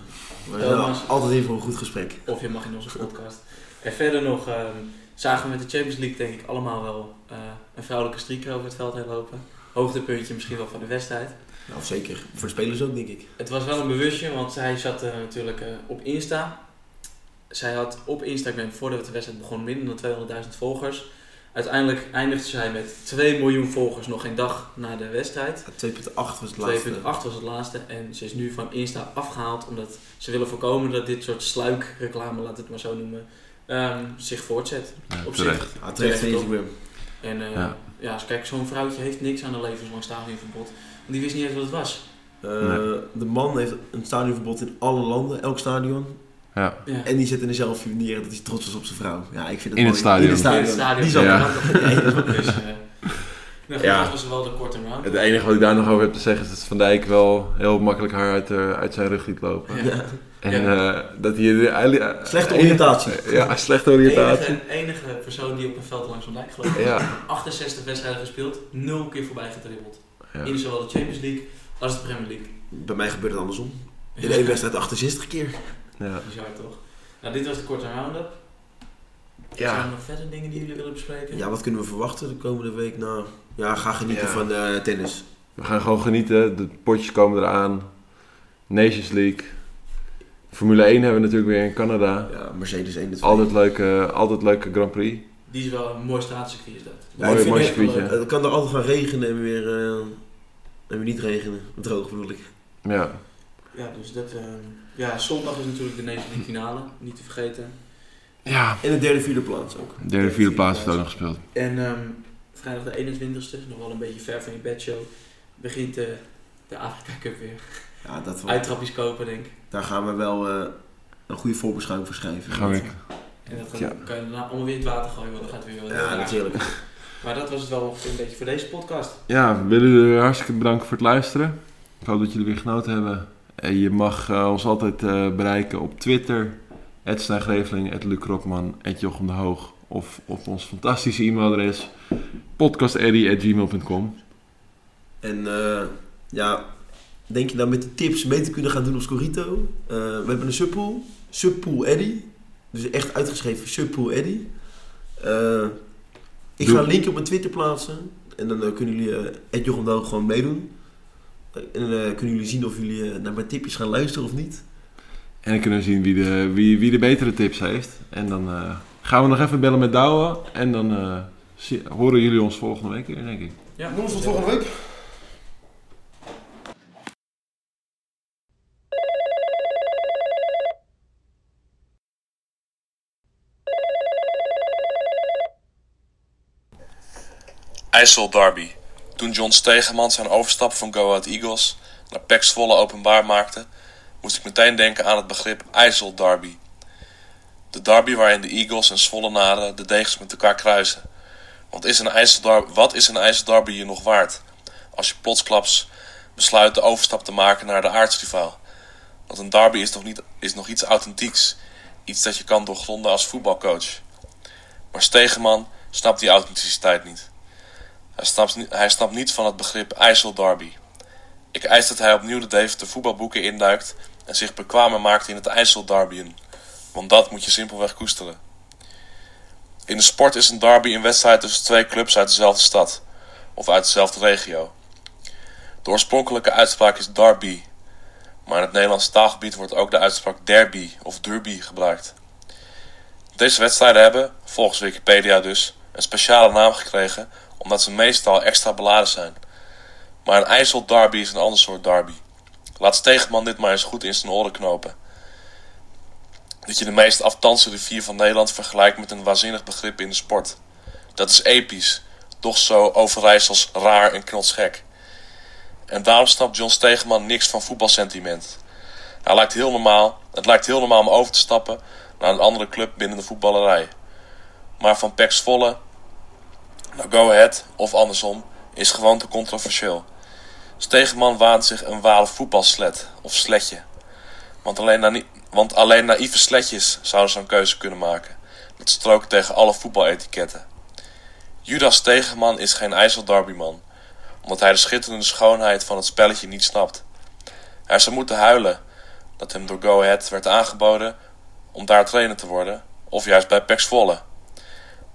S4: We zijn
S5: Thomas.
S4: altijd hier voor een goed gesprek.
S5: Of je mag in onze podcast. En verder nog ehm, zagen we met de Champions League denk ik allemaal wel eh, een vrouwelijke streaker over het veld heen lopen. Hoogtepuntje misschien wel van de wedstrijd.
S4: Nou, zeker. Voor de spelers ook, denk ik.
S5: Het was wel een bewustje, want zij zat eh, natuurlijk eh, op Insta. Zij had op Instagram, voordat de wedstrijd begon, minder dan 200.000 volgers. Uiteindelijk eindigde zij met 2 miljoen volgers nog geen dag na de wedstrijd.
S4: 2.8 was het
S5: 2,8
S4: laatste.
S5: was het laatste en ze is nu van Insta afgehaald omdat ze willen voorkomen dat dit soort sluikreclame, laat het maar zo noemen, ehm, zich voortzet.
S3: ja,
S5: Op
S3: terecht.
S4: Ah,
S5: Terecht,
S4: terecht Instagram.
S5: En eh,
S3: Ja.
S5: ja. dus kijk, zo'n vrouwtje heeft niks aan een levenslang stadionverbod. Want die wist niet eens wat het was.
S4: Eh,
S3: Nee.
S4: De man heeft een stadionverbod in alle landen, elk stadion.
S3: Ja,
S5: Ja.
S4: En die zit in een selfie neer dat hij trots was op zijn vrouw. Ja, ik vind het
S3: In het
S4: mooi.
S3: stadion.
S4: In het stadion.
S5: In het stadion.
S4: Die zal
S3: Ja.
S5: <laughs> Dus, eh, nou,
S3: Ja.
S5: Dat was wel de korte round.
S3: het enige wat ik daar nog over heb te zeggen is dat Van Dijk wel heel makkelijk haar uit, eh, uit zijn rug liet lopen.
S5: Ja.
S4: Ja.
S3: En
S5: Ja.
S3: eh, dat hij... Uh,
S4: Slechte oriëntatie.
S3: Ja, slechte
S5: De
S3: oriëntatie.
S5: enige, enige persoon die op een veld langs van Dijk geloof ik.
S3: Ja,
S5: 68 wedstrijden gespeeld, 0 keer voorbij gedribbeld.
S3: Ja.
S5: In zowel de Champions League als de Premier League.
S4: Bij mij gebeurt het andersom. In één wedstrijd 68 keer.
S3: ja.
S5: Bizar toch? Nou, dit was de korte round-up. Zijn er nog verder dingen die jullie willen bespreken?
S4: Ja, wat kunnen we verwachten de komende week? Nou, ja, ga genieten
S3: Ja.
S4: van eh, tennis.
S3: We gaan gewoon genieten. De potjes komen eraan. Nations League. Formule 1 hebben we natuurlijk weer in Canada.
S4: Ja, Mercedes 1 en 2.
S3: Altijd leuke, altijd leuke Grand Prix.
S5: Die is wel een mooi straatcircuit is dat.
S4: Ja,
S3: Mooi-
S4: ik vind
S3: mooi
S4: het-
S3: circuitje.
S4: Het kan er altijd gaan regenen en weer, eh, en weer niet regenen. Droog bedoel ik.
S3: Ja.
S5: Ja, dus dat... eh, ja, zondag is natuurlijk de Nation
S4: <laughs>
S5: League finale, niet te vergeten.
S3: Ja.
S4: En de derde, vierde plaats ook.
S3: Derde, vierde plaats wordt ook nog gespeeld.
S5: En ehm, vrijdag de 21ste, nog wel een beetje ver van je bedshow, begint eh, de Afrika Cup weer.
S4: Ja, dat wordt-
S5: Uittrapjes kopen, denk ik.
S4: daar gaan we wel eh, een goede voorbeschouwing voor schrijven.
S3: Gaan we
S5: En dat gaat,
S3: Ja.
S5: kan je daarna allemaal weer in het water gooien, want dan gaat het weer wel
S4: Ja, natuurlijk.
S5: Maar dat was het wel ongeveer een beetje voor deze podcast.
S3: Ja, we willen jullie hartstikke bedanken voor het luisteren. Ik hoop dat jullie weer genoten hebben. En je mag eh, ons altijd eh, bereiken op Twitter. @stijngreveling, Luc Rokman, Jochem de Hoog. Of op ons fantastische e-mailadres. podcasteddy.gmail.com
S4: En eh, ja, denk je nou met de tips mee te kunnen gaan doen op Scorito? Eh, we hebben een subpool, subpool Eddy. Dus echt uitgeschreven subpool Eddy. Eh, ik
S3: Doe-
S4: ga een link op mijn Twitter plaatsen. En dan eh, kunnen jullie eh Ed Jochem de Hoog gewoon meedoen. Eh, en eh, kunnen jullie zien of jullie eh, naar mijn tipjes gaan luisteren of niet.
S3: En dan kunnen we zien wie de, wie, wie de betere tips heeft. En dan eh, gaan we nog even bellen met Douwe. En dan eh, zie- horen jullie ons volgende week weer, denk ik.
S5: Ja,
S7: Noem ons tot volgende week.
S8: IJssel Derby. Toen John Stegeman zijn overstap van Go Ahead Eagles naar PEC Zwolle openbaar maakte, moest ik meteen denken aan het begrip IJssel Derby. De derby waarin de Eagles en Zwollenaren de degens met elkaar kruisen. Want is een IJsselderby, wat is een IJsselderby je nog waard als je plotsklaps besluit de overstap te maken naar de aardsrivaal? Want een derby is nog, niet, is nog iets authentieks, iets dat je kan doorgronden als voetbalcoach. Maar Stegeman snapt die authenticiteit niet. Hij snapt, ni- hij snapt niet van het begrip IJsselderby. Ik eis dat hij opnieuw de Deventer voetbalboeken induikt en zich bekwamer maakt in het IJsselderbyen. Want dat moet je simpelweg koesteren. In de sport is een derby een wedstrijd tussen twee clubs uit dezelfde stad of uit dezelfde regio. De oorspronkelijke uitspraak is derby, maar in het Nederlandse taalgebied wordt ook de uitspraak derby of derby gebruikt. Deze wedstrijden hebben, volgens Wikipedia dus, een speciale naam gekregen omdat ze meestal extra beladen zijn. Maar een IJsselderby is een ander soort derby. Laat Stegeman dit maar eens goed in zijn oren knopen. dat je de meest aftanse rivier van Nederland vergelijkt met een waanzinnig begrip in de sport. Dat is episch, toch zo Overijssels raar en knotsgek. En daarom snapt John Stegeman niks van voetbalsentiment. Hij lijkt heel normaal, het lijkt heel normaal om over te stappen naar een andere club binnen de voetballerij. Maar van Pax Zwolle naar Go Ahead of andersom is gewoon te controversieel. Stegeman waant zich een ware voetbalslet of sletje. Want alleen, na, want alleen naïeve sletjes zouden zo'n keuze kunnen maken. Dat strookt tegen alle voetbaletiketten. Judas Stegeman is geen IJsselderbyman, omdat hij de schitterende schoonheid van het spelletje niet snapt. Hij zou moeten huilen dat hem door Go Ahead werd aangeboden om daar trainer te worden, of juist bij Pax Volle.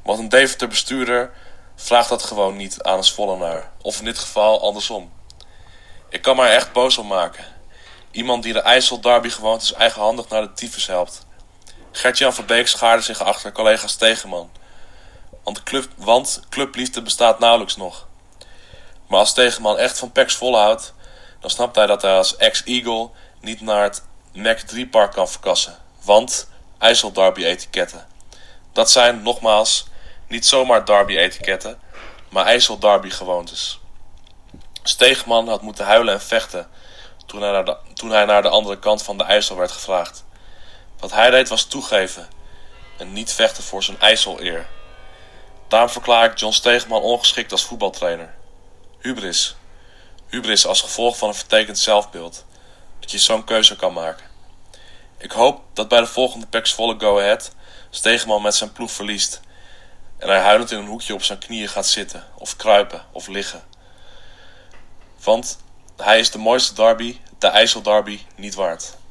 S8: Want een Deventer bestuurder vraagt dat gewoon niet aan een Zwollenaar, of in dit geval andersom. Ik kan me er echt boos om maken. Iemand die de IJssel Derby gewoontes eigenhandig naar de tyfus helpt. Gert-Jan van Beek schaarde zich achter collega Stegeman. Want, club, want clubliefde bestaat nauwelijks nog. Maar als Stegeman echt van Pax volhoudt, dan snapt hij dat hij als ex-Eagle niet naar het Mac 3 Park kan verkassen. Want IJssel Derby etiketten. Dat zijn, nogmaals, niet zomaar Derby etiketten, maar IJssel Derby gewoontes. Steegman had moeten huilen en vechten toen hij, naar de, toen hij naar de andere kant van de IJssel werd gevraagd. Wat hij deed was toegeven en niet vechten voor zijn IJssel-eer. Daarom verklaar ik John Steegman ongeschikt als voetbaltrainer. Hubris. Hubris als gevolg van een vertekend zelfbeeld. Dat je zo'n keuze kan maken. Ik hoop dat bij de volgende Pax Volle Go Ahead Steegman met zijn ploeg verliest. En hij huilend in een hoekje op zijn knieën gaat zitten, of kruipen, of liggen. Want hij is de mooiste derby, de IJsselderby, niet waard.